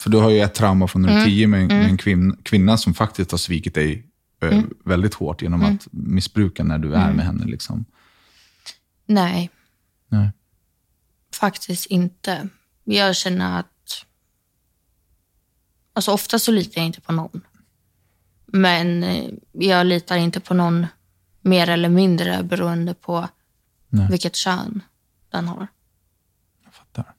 [SPEAKER 1] För du har ju ett trauma från när du är tio med, med en kvinn, kvinna som faktiskt har svikit dig eh, väldigt hårt genom att missbruka när du är med henne. Liksom.
[SPEAKER 2] Nej,
[SPEAKER 1] Nej.
[SPEAKER 2] Faktiskt inte. Jag känner att... Alltså ofta så litar jag inte på någon. Men eh, jag litar inte på någon mer eller mindre beroende på vilket kön den har.
[SPEAKER 1] Jag fattar.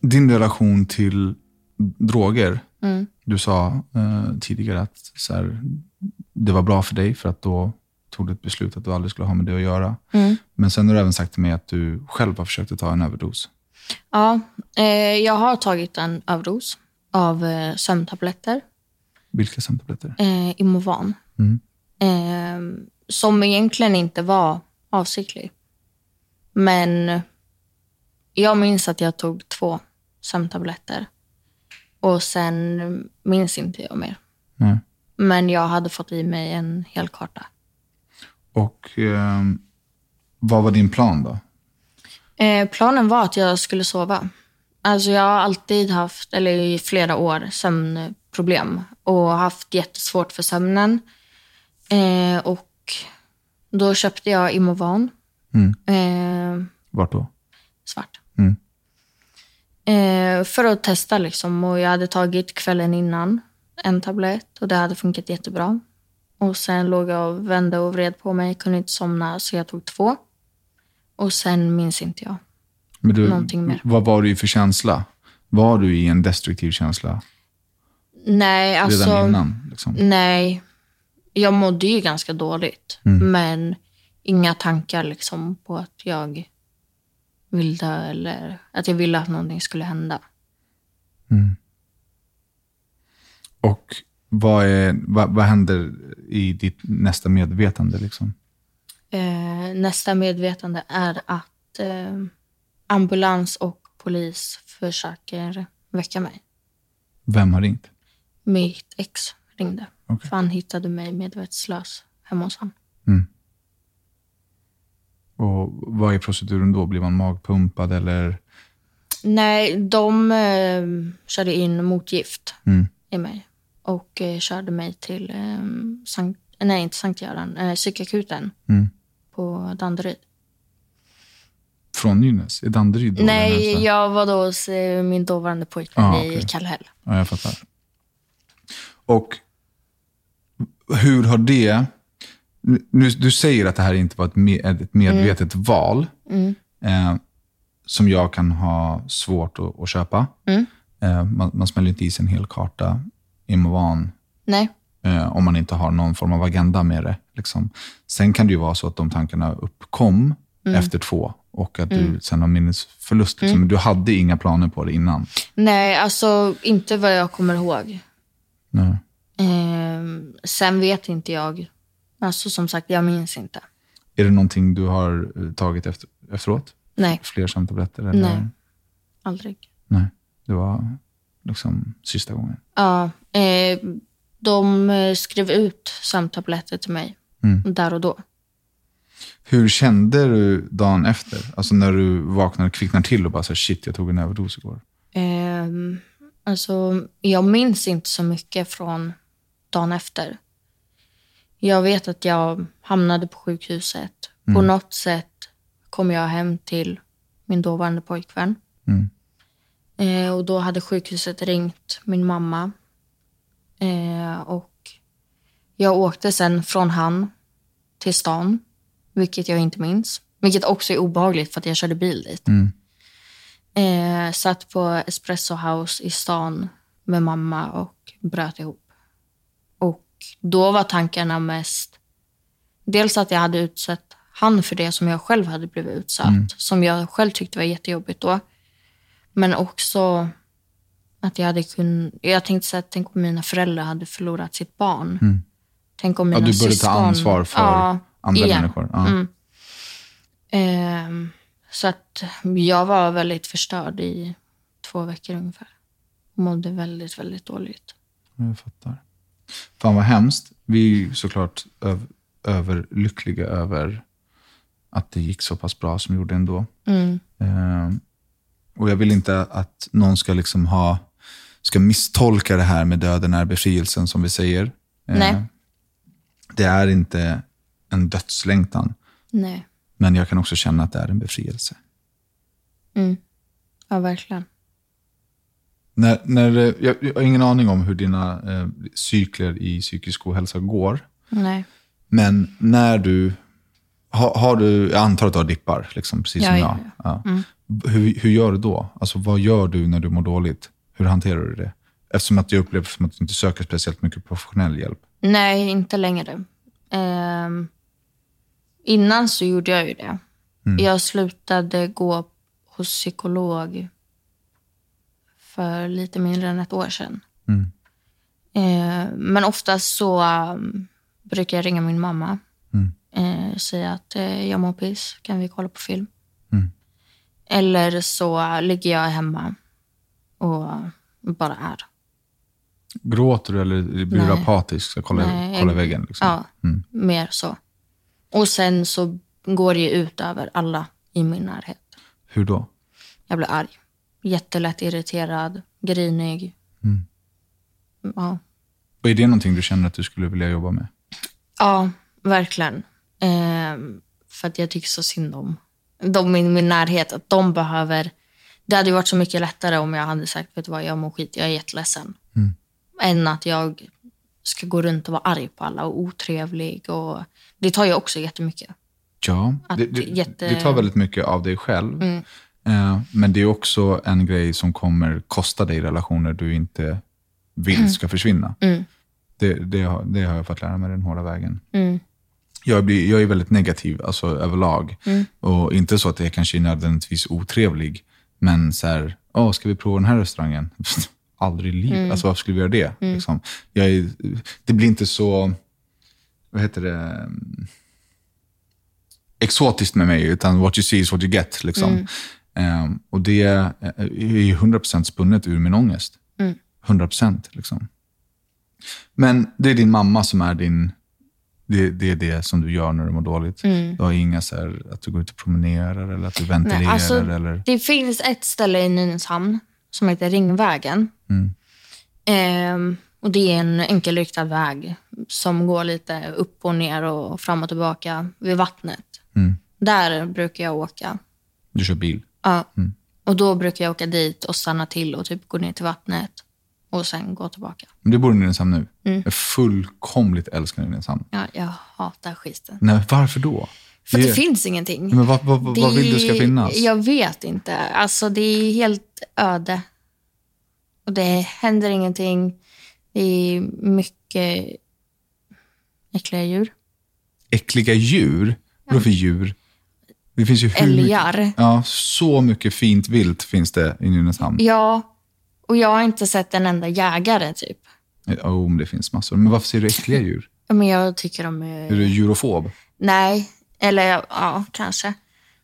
[SPEAKER 1] Din relation till droger. Du sa eh, tidigare att så här, det var bra för dig för att då tog du ett beslut att du aldrig skulle ha med det att göra. Men sen har du även sagt till mig att du själv har försökt att ta en överdos.
[SPEAKER 2] Ja, eh, jag har tagit en överdos av eh, sömntabletter,
[SPEAKER 1] Vilka sömntabletter?
[SPEAKER 2] eh, Imovan. Eh, som egentligen inte var avsiktlig. Men jag minns att jag tog två sömntabletter. Och sen minns inte jag mer.
[SPEAKER 1] Nej.
[SPEAKER 2] Men jag hade fått i mig en hel karta.
[SPEAKER 1] Och eh, vad var din plan då?
[SPEAKER 2] Eh, planen var att jag skulle sova. Alltså jag har alltid haft, eller i flera år, sömnproblem och haft jättesvårt för sömnen. Eh, och då köpte jag Imovan. Eh,
[SPEAKER 1] Vart då?
[SPEAKER 2] svart.
[SPEAKER 1] Mm.
[SPEAKER 2] Eh, för att testa liksom. Och jag hade tagit kvällen innan en tablett och det hade funkat jättebra. Och sen låg jag och vände och vred på mig, kunde inte somna så jag tog två. Och sen minns inte jag.
[SPEAKER 1] Men du,
[SPEAKER 2] Någonting mer.
[SPEAKER 1] Vad var du i för känsla? Var du i en destruktiv känsla
[SPEAKER 2] Nej, alltså.
[SPEAKER 1] redan innan? Liksom?
[SPEAKER 2] Nej. Jag mådde ju ganska dåligt,
[SPEAKER 1] Mm.
[SPEAKER 2] men inga tankar liksom på att jag vill dö eller att jag ville att någonting skulle hända.
[SPEAKER 1] Och vad, är, vad, vad händer i ditt nästa medvetande? Liksom?
[SPEAKER 2] Eh, nästa medvetande är att eh, ambulans och polis försöker väcka mig.
[SPEAKER 1] Vem har ringt?
[SPEAKER 2] Mitt ex ringde.
[SPEAKER 1] Okej.
[SPEAKER 2] För han hittade mig medvetslös hemma hos honom.
[SPEAKER 1] Och vad är proceduren då? Blir man magpumpad eller? Mm.
[SPEAKER 2] Nej, de eh, körde in motgift i mig. och eh, körde mig till eh, Sankt, nej, inte Sankt Göran, eh, psykakuten
[SPEAKER 1] Mm.
[SPEAKER 2] på Danderyd.
[SPEAKER 1] Från Nynäs? I Danderyd? då, eller
[SPEAKER 2] Nej,
[SPEAKER 1] så?
[SPEAKER 2] jag var då hos eh, min dåvarande pojkvän
[SPEAKER 1] Ah,
[SPEAKER 2] i
[SPEAKER 1] okej.
[SPEAKER 2] Kallhäll.
[SPEAKER 1] Ja, jag fattar. Och hur har det... Nu, du säger att det här inte var ett, me, ett medvetet val eh, som jag kan ha svårt att, att köpa. Eh, man, man smäller inte i sig en hel karta i Movan
[SPEAKER 2] Nej,
[SPEAKER 1] eh, om man inte har någon form av agenda med det. Liksom. Sen kan det ju vara så att de tankarna uppkom efter två och att du sen har minnesförlust. Liksom. Du hade inga planer på det innan.
[SPEAKER 2] nej, alltså inte vad jag kommer ihåg.
[SPEAKER 1] Nej.
[SPEAKER 2] Ehm, sen vet inte jag. Alltså som sagt, jag minns inte.
[SPEAKER 1] Är det någonting du har eh, tagit efter, efteråt?
[SPEAKER 2] Nej,
[SPEAKER 1] Fler sömntabletter? Eller?
[SPEAKER 2] Nej. aldrig.
[SPEAKER 1] Nej. Det var liksom sista gången.
[SPEAKER 2] Ja, eh, de eh, skrev ut sömntabletter till mig
[SPEAKER 1] Mm.
[SPEAKER 2] där och då.
[SPEAKER 1] Hur kände du dagen efter? Alltså när du vaknade, kvicknar till och bara så här, shit, jag tog en överdos igår.
[SPEAKER 2] Ehm, alltså, jag minns inte så mycket från dagen efter. Jag vet att jag hamnade på sjukhuset. På något sätt kom jag hem till min dåvarande pojkvän.
[SPEAKER 1] Mm.
[SPEAKER 2] Eh, och då hade sjukhuset ringt min mamma. Eh, och jag åkte sen från han till stan, vilket jag inte minns. Vilket också är obehagligt för att jag körde bil dit.
[SPEAKER 1] Mm.
[SPEAKER 2] Eh, satt på Espresso House i stan med mamma och bröt ihop. Och då var tankarna mest... Dels att jag hade utsatt han för det som jag själv hade blivit utsatt.
[SPEAKER 1] Mm.
[SPEAKER 2] Som jag själv tyckte var jättejobbigt då. Men också att jag hade kunnat... Jag tänkte så här, tänk om mina föräldrar hade förlorat sitt barn. Tänk om
[SPEAKER 1] Mm. Ja,
[SPEAKER 2] mina
[SPEAKER 1] du började
[SPEAKER 2] syskon...
[SPEAKER 1] ta ansvar för
[SPEAKER 2] Ja,
[SPEAKER 1] andra
[SPEAKER 2] igen. Mm.
[SPEAKER 1] människor. Ja.
[SPEAKER 2] Ehm, så att jag var väldigt förstörd i två veckor ungefär. Mådde väldigt, väldigt dåligt.
[SPEAKER 1] Jag fattar. Fan vad hemskt. Vi är ju såklart öv- överlyckliga över att det gick så pass bra som det gjorde ändå. Eh, och jag vill inte att någon ska liksom ha ska misstolka det här med döden är befrielsen som vi säger. Eh,
[SPEAKER 2] Nej.
[SPEAKER 1] Det är inte en dödslängtan,
[SPEAKER 2] Nej,
[SPEAKER 1] men jag kan också känna att det är en befrielse.
[SPEAKER 2] ja verkligen.
[SPEAKER 1] När, när, eh, jag, jag har ingen aning om hur dina eh, cykler i psykisk ohälsa går.
[SPEAKER 2] Nej.
[SPEAKER 1] Men när du... Har, har du jag antar att du har dippar, liksom, precis
[SPEAKER 2] Ja,
[SPEAKER 1] som jag.
[SPEAKER 2] ja, Mm.
[SPEAKER 1] Ja. Hur, hur gör du då? Alltså, vad gör du när du mår dåligt? Hur hanterar du det? Eftersom att jag upplever som att du inte söker speciellt mycket professionell hjälp.
[SPEAKER 2] Nej, inte längre. Ehm, innan så gjorde jag ju det.
[SPEAKER 1] Mm.
[SPEAKER 2] Jag slutade gå hos psykolog för lite mindre än ett år sedan.
[SPEAKER 1] Mm.
[SPEAKER 2] Ehm, men oftast så um, brukar jag ringa min mamma.
[SPEAKER 1] Mm.
[SPEAKER 2] Eh, säga att eh, jag mår piss, kan vi kolla på film?
[SPEAKER 1] Mm.
[SPEAKER 2] Eller så ligger jag hemma och bara är.
[SPEAKER 1] Gråter du eller blir du
[SPEAKER 2] Nej.
[SPEAKER 1] apatisk? Så kolla,
[SPEAKER 2] Nej,
[SPEAKER 1] kolla
[SPEAKER 2] jag-
[SPEAKER 1] väggen. Liksom.
[SPEAKER 2] Ja,
[SPEAKER 1] Mm.
[SPEAKER 2] mer så. Och sen så går det ju ut över alla i min närhet.
[SPEAKER 1] Hur då?
[SPEAKER 2] Jag blir arg. Jättelätt irriterad, grinig. Ja.
[SPEAKER 1] Och är det någonting du känner att du skulle vilja jobba med?
[SPEAKER 2] ja, verkligen. Ehm, för att jag tycker så synd om de i min närhet. Att de behöver... Det hade ju varit så mycket lättare om jag hade sagt vet du vad, jag mår skit, jag är jätteledsen. Än att jag ska gå runt och vara arg på alla och otrevlig. Och, det tar ju också jättemycket.
[SPEAKER 1] Ja,
[SPEAKER 2] Att
[SPEAKER 1] det, det,
[SPEAKER 2] jätte- Mm.
[SPEAKER 1] det tar väldigt mycket av dig själv. Eh, men det är också en grej som kommer kosta dig relationer du inte
[SPEAKER 2] Mm.
[SPEAKER 1] vill ska försvinna. Det, det, har, det har jag fått lära mig den hårda vägen.
[SPEAKER 2] Mm.
[SPEAKER 1] Jag, blir, jag är väldigt negativ alltså, överlag.
[SPEAKER 2] Mm.
[SPEAKER 1] Och inte så att jag kanske är nödvändigtvis otrevlig, men så här, "Åh, ska vi prova den här restaurangen? Aldrig i
[SPEAKER 2] Mm.
[SPEAKER 1] livet. Alltså, varför skulle vi göra det? Liksom. Jag är, det blir inte så, vad heter det, Mm. exotiskt med mig, utan what you see is what you get. Liksom.
[SPEAKER 2] Mm.
[SPEAKER 1] Ehm, och det eh, är ju 100% spunnet ur min ångest.
[SPEAKER 2] Mm.
[SPEAKER 1] 100%. Liksom. Men det är din mamma som är din... Det, det är det som du gör när du mår dåligt. Du har inga så här, att du går ut och promenerar eller att du ventilerar.
[SPEAKER 2] Mm. Nej, alltså,
[SPEAKER 1] eller,
[SPEAKER 2] Det finns ett ställe i Nynäshamn som heter Ringvägen. Ehm, och Och det är en enkelriktad väg som går lite upp och ner och fram och tillbaka vid vattnet.
[SPEAKER 1] Mm.
[SPEAKER 2] Där brukar jag åka.
[SPEAKER 1] Du kör bil.
[SPEAKER 2] Ja. Och då brukar jag åka dit och stanna till och typ gå ner till vattnet och sen gå tillbaka.
[SPEAKER 1] Men Du bor i Nynäshamn nu.
[SPEAKER 2] Mm.
[SPEAKER 1] Jag fullkomligt älskar Nynäshamn.
[SPEAKER 2] Ja, jag hatar skiten.
[SPEAKER 1] Nej, varför då?
[SPEAKER 2] För att det
[SPEAKER 1] Det-
[SPEAKER 2] finns ingenting.
[SPEAKER 1] Men vad, vad, vad
[SPEAKER 2] Det-
[SPEAKER 1] vill du ska finnas?
[SPEAKER 2] Jag vet inte. Alltså det är helt öde. Och det händer ingenting. Det är mycket äckliga djur.
[SPEAKER 1] Äckliga djur? Vadå för djur? Det finns ju hur mycket,
[SPEAKER 2] Älgar.
[SPEAKER 1] Ja, så mycket fint vilt finns det i Nynäshamn.
[SPEAKER 2] Ja. Och jag har inte sett en enda jägare typ.
[SPEAKER 1] Jo, oh, men det finns massor. Men varför ser du äckliga djur?
[SPEAKER 2] Men jag tycker de är...
[SPEAKER 1] Är du djurofob?
[SPEAKER 2] Nej. Eller ja, kanske.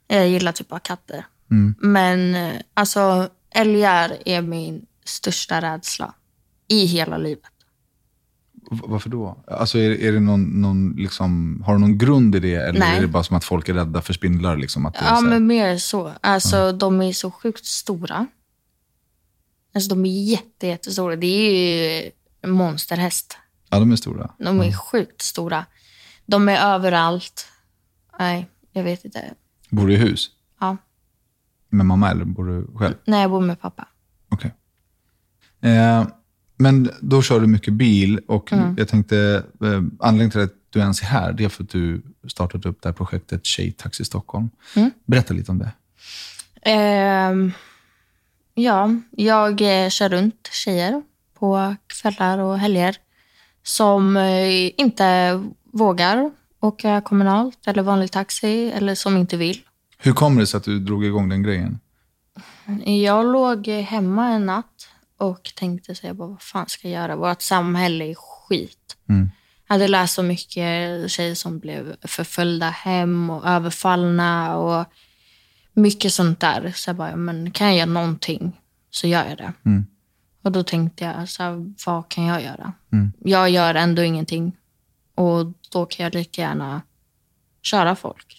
[SPEAKER 2] Jag gillar typ bara katter.
[SPEAKER 1] Mm.
[SPEAKER 2] Men eh, alltså älgar är min största rädsla i hela livet.
[SPEAKER 1] V- Varför då? Alltså, är, är det någon, någon liksom, har du någon grund i det? Eller
[SPEAKER 2] Nej.
[SPEAKER 1] är det bara som att folk är rädda för spindlar? Liksom, att det är
[SPEAKER 2] Ja,
[SPEAKER 1] så här-
[SPEAKER 2] men mer så. Alltså, de är så sjukt stora. Alltså, de är jätte, jättestora. Det är ju en monsterhäst.
[SPEAKER 1] ja, de är stora.
[SPEAKER 2] De är sjukt stora. De är överallt. Nej, jag vet inte.
[SPEAKER 1] Bor du i hus?
[SPEAKER 2] Ja.
[SPEAKER 1] Med mamma eller bor du själv?
[SPEAKER 2] Nej, jag bor med pappa.
[SPEAKER 1] Okej. Eh, men då kör du mycket bil och jag tänkte, eh, anledningen till att du ens är här, det är för att du startat upp det här projektet Tjejtaxi Stockholm. Berätta lite om det.
[SPEAKER 2] Ehm, ja, jag eh, kör runt tjejer på kvällar och helger som eh, inte vågar åka kommunalt eller vanlig taxi eller som inte vill.
[SPEAKER 1] Hur kommer det sig att du drog igång den grejen?
[SPEAKER 2] Jag låg hemma en natt och tänkte så jag bara, vad fan ska jag göra? Vårt samhälle är skit.
[SPEAKER 1] Mm.
[SPEAKER 2] Jag hade läst så mycket tjejer som blev förföljda hem och överfallna och mycket sånt där. Så jag bara, men kan jag göra någonting så gör jag det.
[SPEAKER 1] Mm.
[SPEAKER 2] Och då tänkte jag, så här, vad kan jag göra?
[SPEAKER 1] Mm.
[SPEAKER 2] Jag gör ändå ingenting och då kan jag lika gärna köra folk.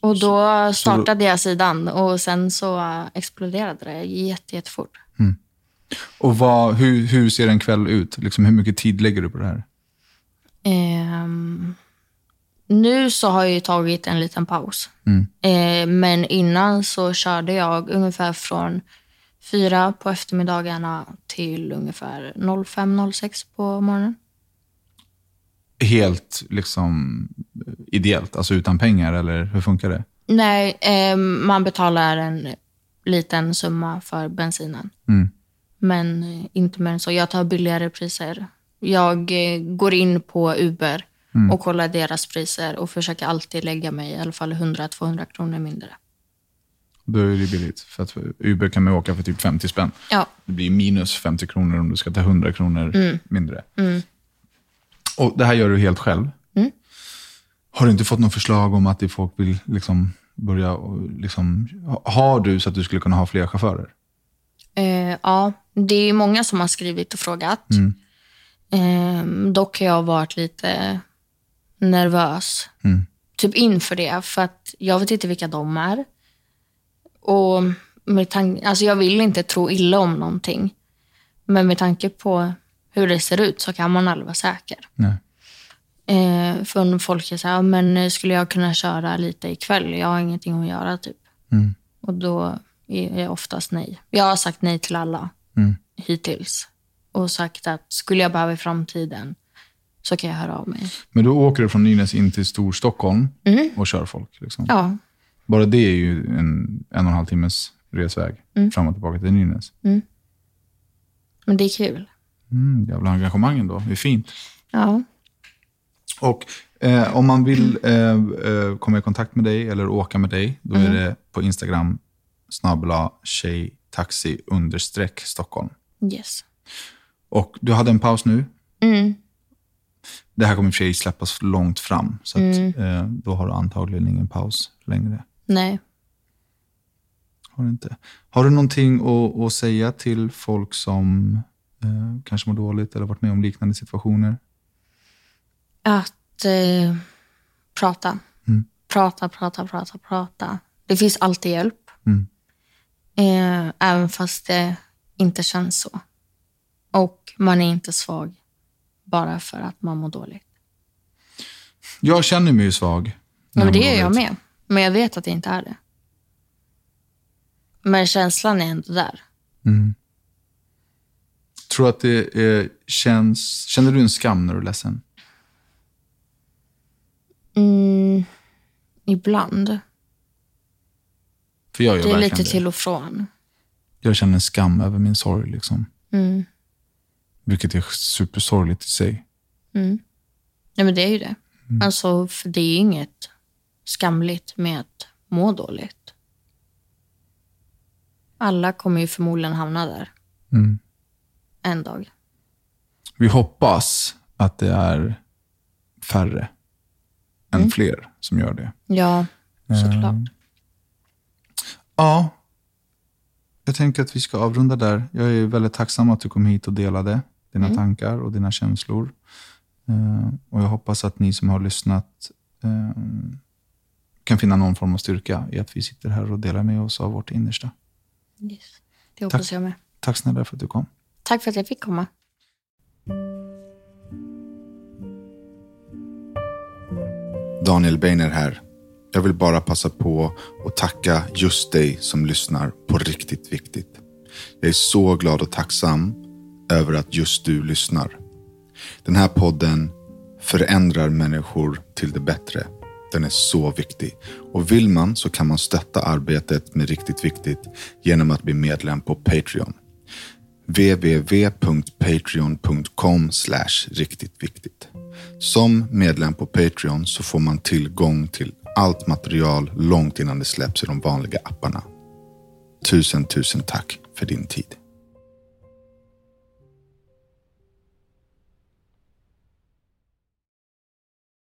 [SPEAKER 2] Och då
[SPEAKER 1] då-
[SPEAKER 2] startade jag sidan och sen så eh, exploderade det jätte, jättefort.
[SPEAKER 1] Och vad, hur, hur ser en kväll ut? Liksom, hur mycket tid lägger du på det här?
[SPEAKER 2] Ehm, nu så har jag ju tagit en liten paus. Ehm, men innan så körde jag ungefär från fyra på eftermiddagarna till ungefär 05-06 på morgonen.
[SPEAKER 1] Helt liksom, eh, ideellt, alltså utan pengar, eller hur funkar det?
[SPEAKER 2] Nej, ehm, man betalar en liten summa för bensinen.
[SPEAKER 1] Mm.
[SPEAKER 2] Men eh, inte mer än så. Jag tar billigare priser. Jag eh, går in på Uber och kollar deras priser och försöker alltid lägga mig i alla fall 100-200 kronor mindre.
[SPEAKER 1] Då är det billigt, för att Uber kan man ju åka för typ 50 spänn.
[SPEAKER 2] Ja,
[SPEAKER 1] Det blir minus 50 kronor om du ska ta 100 kronor mindre. Och Det här gör du helt själv. Har du inte fått något förslag om att det folk vill liksom börja... och Liksom, ha- har du så att du skulle kunna ha fler chaufförer?
[SPEAKER 2] eh, ja. det är många som har skrivit och frågat.
[SPEAKER 1] Mm.
[SPEAKER 2] Eh, dock har jag varit lite nervös
[SPEAKER 1] Mm.
[SPEAKER 2] typ inför det, för att jag vet inte vilka de är. Och med tan- alltså jag vill inte tro illa om någonting, men med tanke på hur det ser ut så kan man aldrig vara säker.
[SPEAKER 1] Nej.
[SPEAKER 2] Eh, för om folk är så här, "Ja, men eh, skulle jag kunna köra lite ikväll? Jag har ingenting att göra typ. Och då är jag oftast nej. Jag har sagt nej till alla
[SPEAKER 1] Mm.
[SPEAKER 2] hittills. Och sagt att skulle jag behöva i framtiden så kan jag höra av mig.
[SPEAKER 1] Men då åker du från Nynäs in till Storstockholm och kör folk. Liksom.
[SPEAKER 2] Ja,
[SPEAKER 1] Bara det är ju en, en och en halv timmes resväg fram och tillbaka till Nynäs.
[SPEAKER 2] men det är kul.
[SPEAKER 1] Mm, jävla engagemang ändå. Det är fint.
[SPEAKER 2] Ja.
[SPEAKER 1] Och eh, om man vill eh, eh, komma i kontakt med dig eller åka med dig, då
[SPEAKER 2] Mm.
[SPEAKER 1] är det på Instagram snabbla tjejtaxi understreck Stockholm.
[SPEAKER 2] Yes.
[SPEAKER 1] Och du hade en paus nu.
[SPEAKER 2] Mm.
[SPEAKER 1] Det här kommer i och för sig släppas långt fram, så att,
[SPEAKER 2] Mm.
[SPEAKER 1] eh, då har du antagligen ingen paus längre.
[SPEAKER 2] Nej.
[SPEAKER 1] Har du, inte. Har du någonting att, att säga till folk som eh, kanske mår dåligt eller varit med om liknande situationer?
[SPEAKER 2] Att eh, prata.
[SPEAKER 1] Mm.
[SPEAKER 2] Prata, prata, prata, prata. Det finns alltid hjälp.
[SPEAKER 1] Mm.
[SPEAKER 2] Eh, även fast det inte känns så. Och man är inte svag bara för att man mår dåligt.
[SPEAKER 1] Jag känner mig ju svag. när
[SPEAKER 2] Ja, men
[SPEAKER 1] jag
[SPEAKER 2] det
[SPEAKER 1] mår
[SPEAKER 2] är jag
[SPEAKER 1] dåligt.
[SPEAKER 2] med. Men jag vet att det inte är det. Men känslan är ändå där.
[SPEAKER 1] Tror du att det eh, känns... Känner du en skam när du är ledsen?
[SPEAKER 2] Mm, ibland.
[SPEAKER 1] För jag gör
[SPEAKER 2] Det är
[SPEAKER 1] verkligen
[SPEAKER 2] lite
[SPEAKER 1] det.
[SPEAKER 2] till och från.
[SPEAKER 1] Jag känner en skam över min sorg. Liksom.
[SPEAKER 2] Mm.
[SPEAKER 1] Vilket är supersorgligt i sig.
[SPEAKER 2] Ja, men det är ju det.
[SPEAKER 1] Mm.
[SPEAKER 2] Alltså, för det är inget skamligt med att må dåligt. Alla kommer ju förmodligen hamna där
[SPEAKER 1] Mm.
[SPEAKER 2] en dag.
[SPEAKER 1] Vi hoppas att det är färre än
[SPEAKER 2] Mm.
[SPEAKER 1] fler som gör det.
[SPEAKER 2] Ja, såklart.
[SPEAKER 1] Ja, jag tänker att vi ska avrunda där. Jag är väldigt tacksam att du kom hit och delade dina tankar och dina känslor. Eh, och Jag hoppas att ni som har lyssnat eh, kan finna någon form av styrka i att vi sitter här och delar med oss av vårt innersta.
[SPEAKER 2] Yes. Det hoppas
[SPEAKER 1] Mm. Tack.
[SPEAKER 2] jag med.
[SPEAKER 1] Tack snälla för att du kom.
[SPEAKER 2] Tack för att jag fick komma.
[SPEAKER 4] Daniel Beiner här. Jag vill bara passa på att tacka just dig som lyssnar på Riktigt Viktigt. Jag är så glad och tacksam över att just du lyssnar. Den här podden förändrar människor till det bättre. Den är så viktig. Och vill man så kan man stötta arbetet med Riktigt Viktigt genom att bli medlem på Patreon. www.patreon.com riktigt viktigt. Som medlem på Patreon så får man tillgång till allt material långt innan det släpps i de vanliga apparna. Tusen, tusen tack för din tid.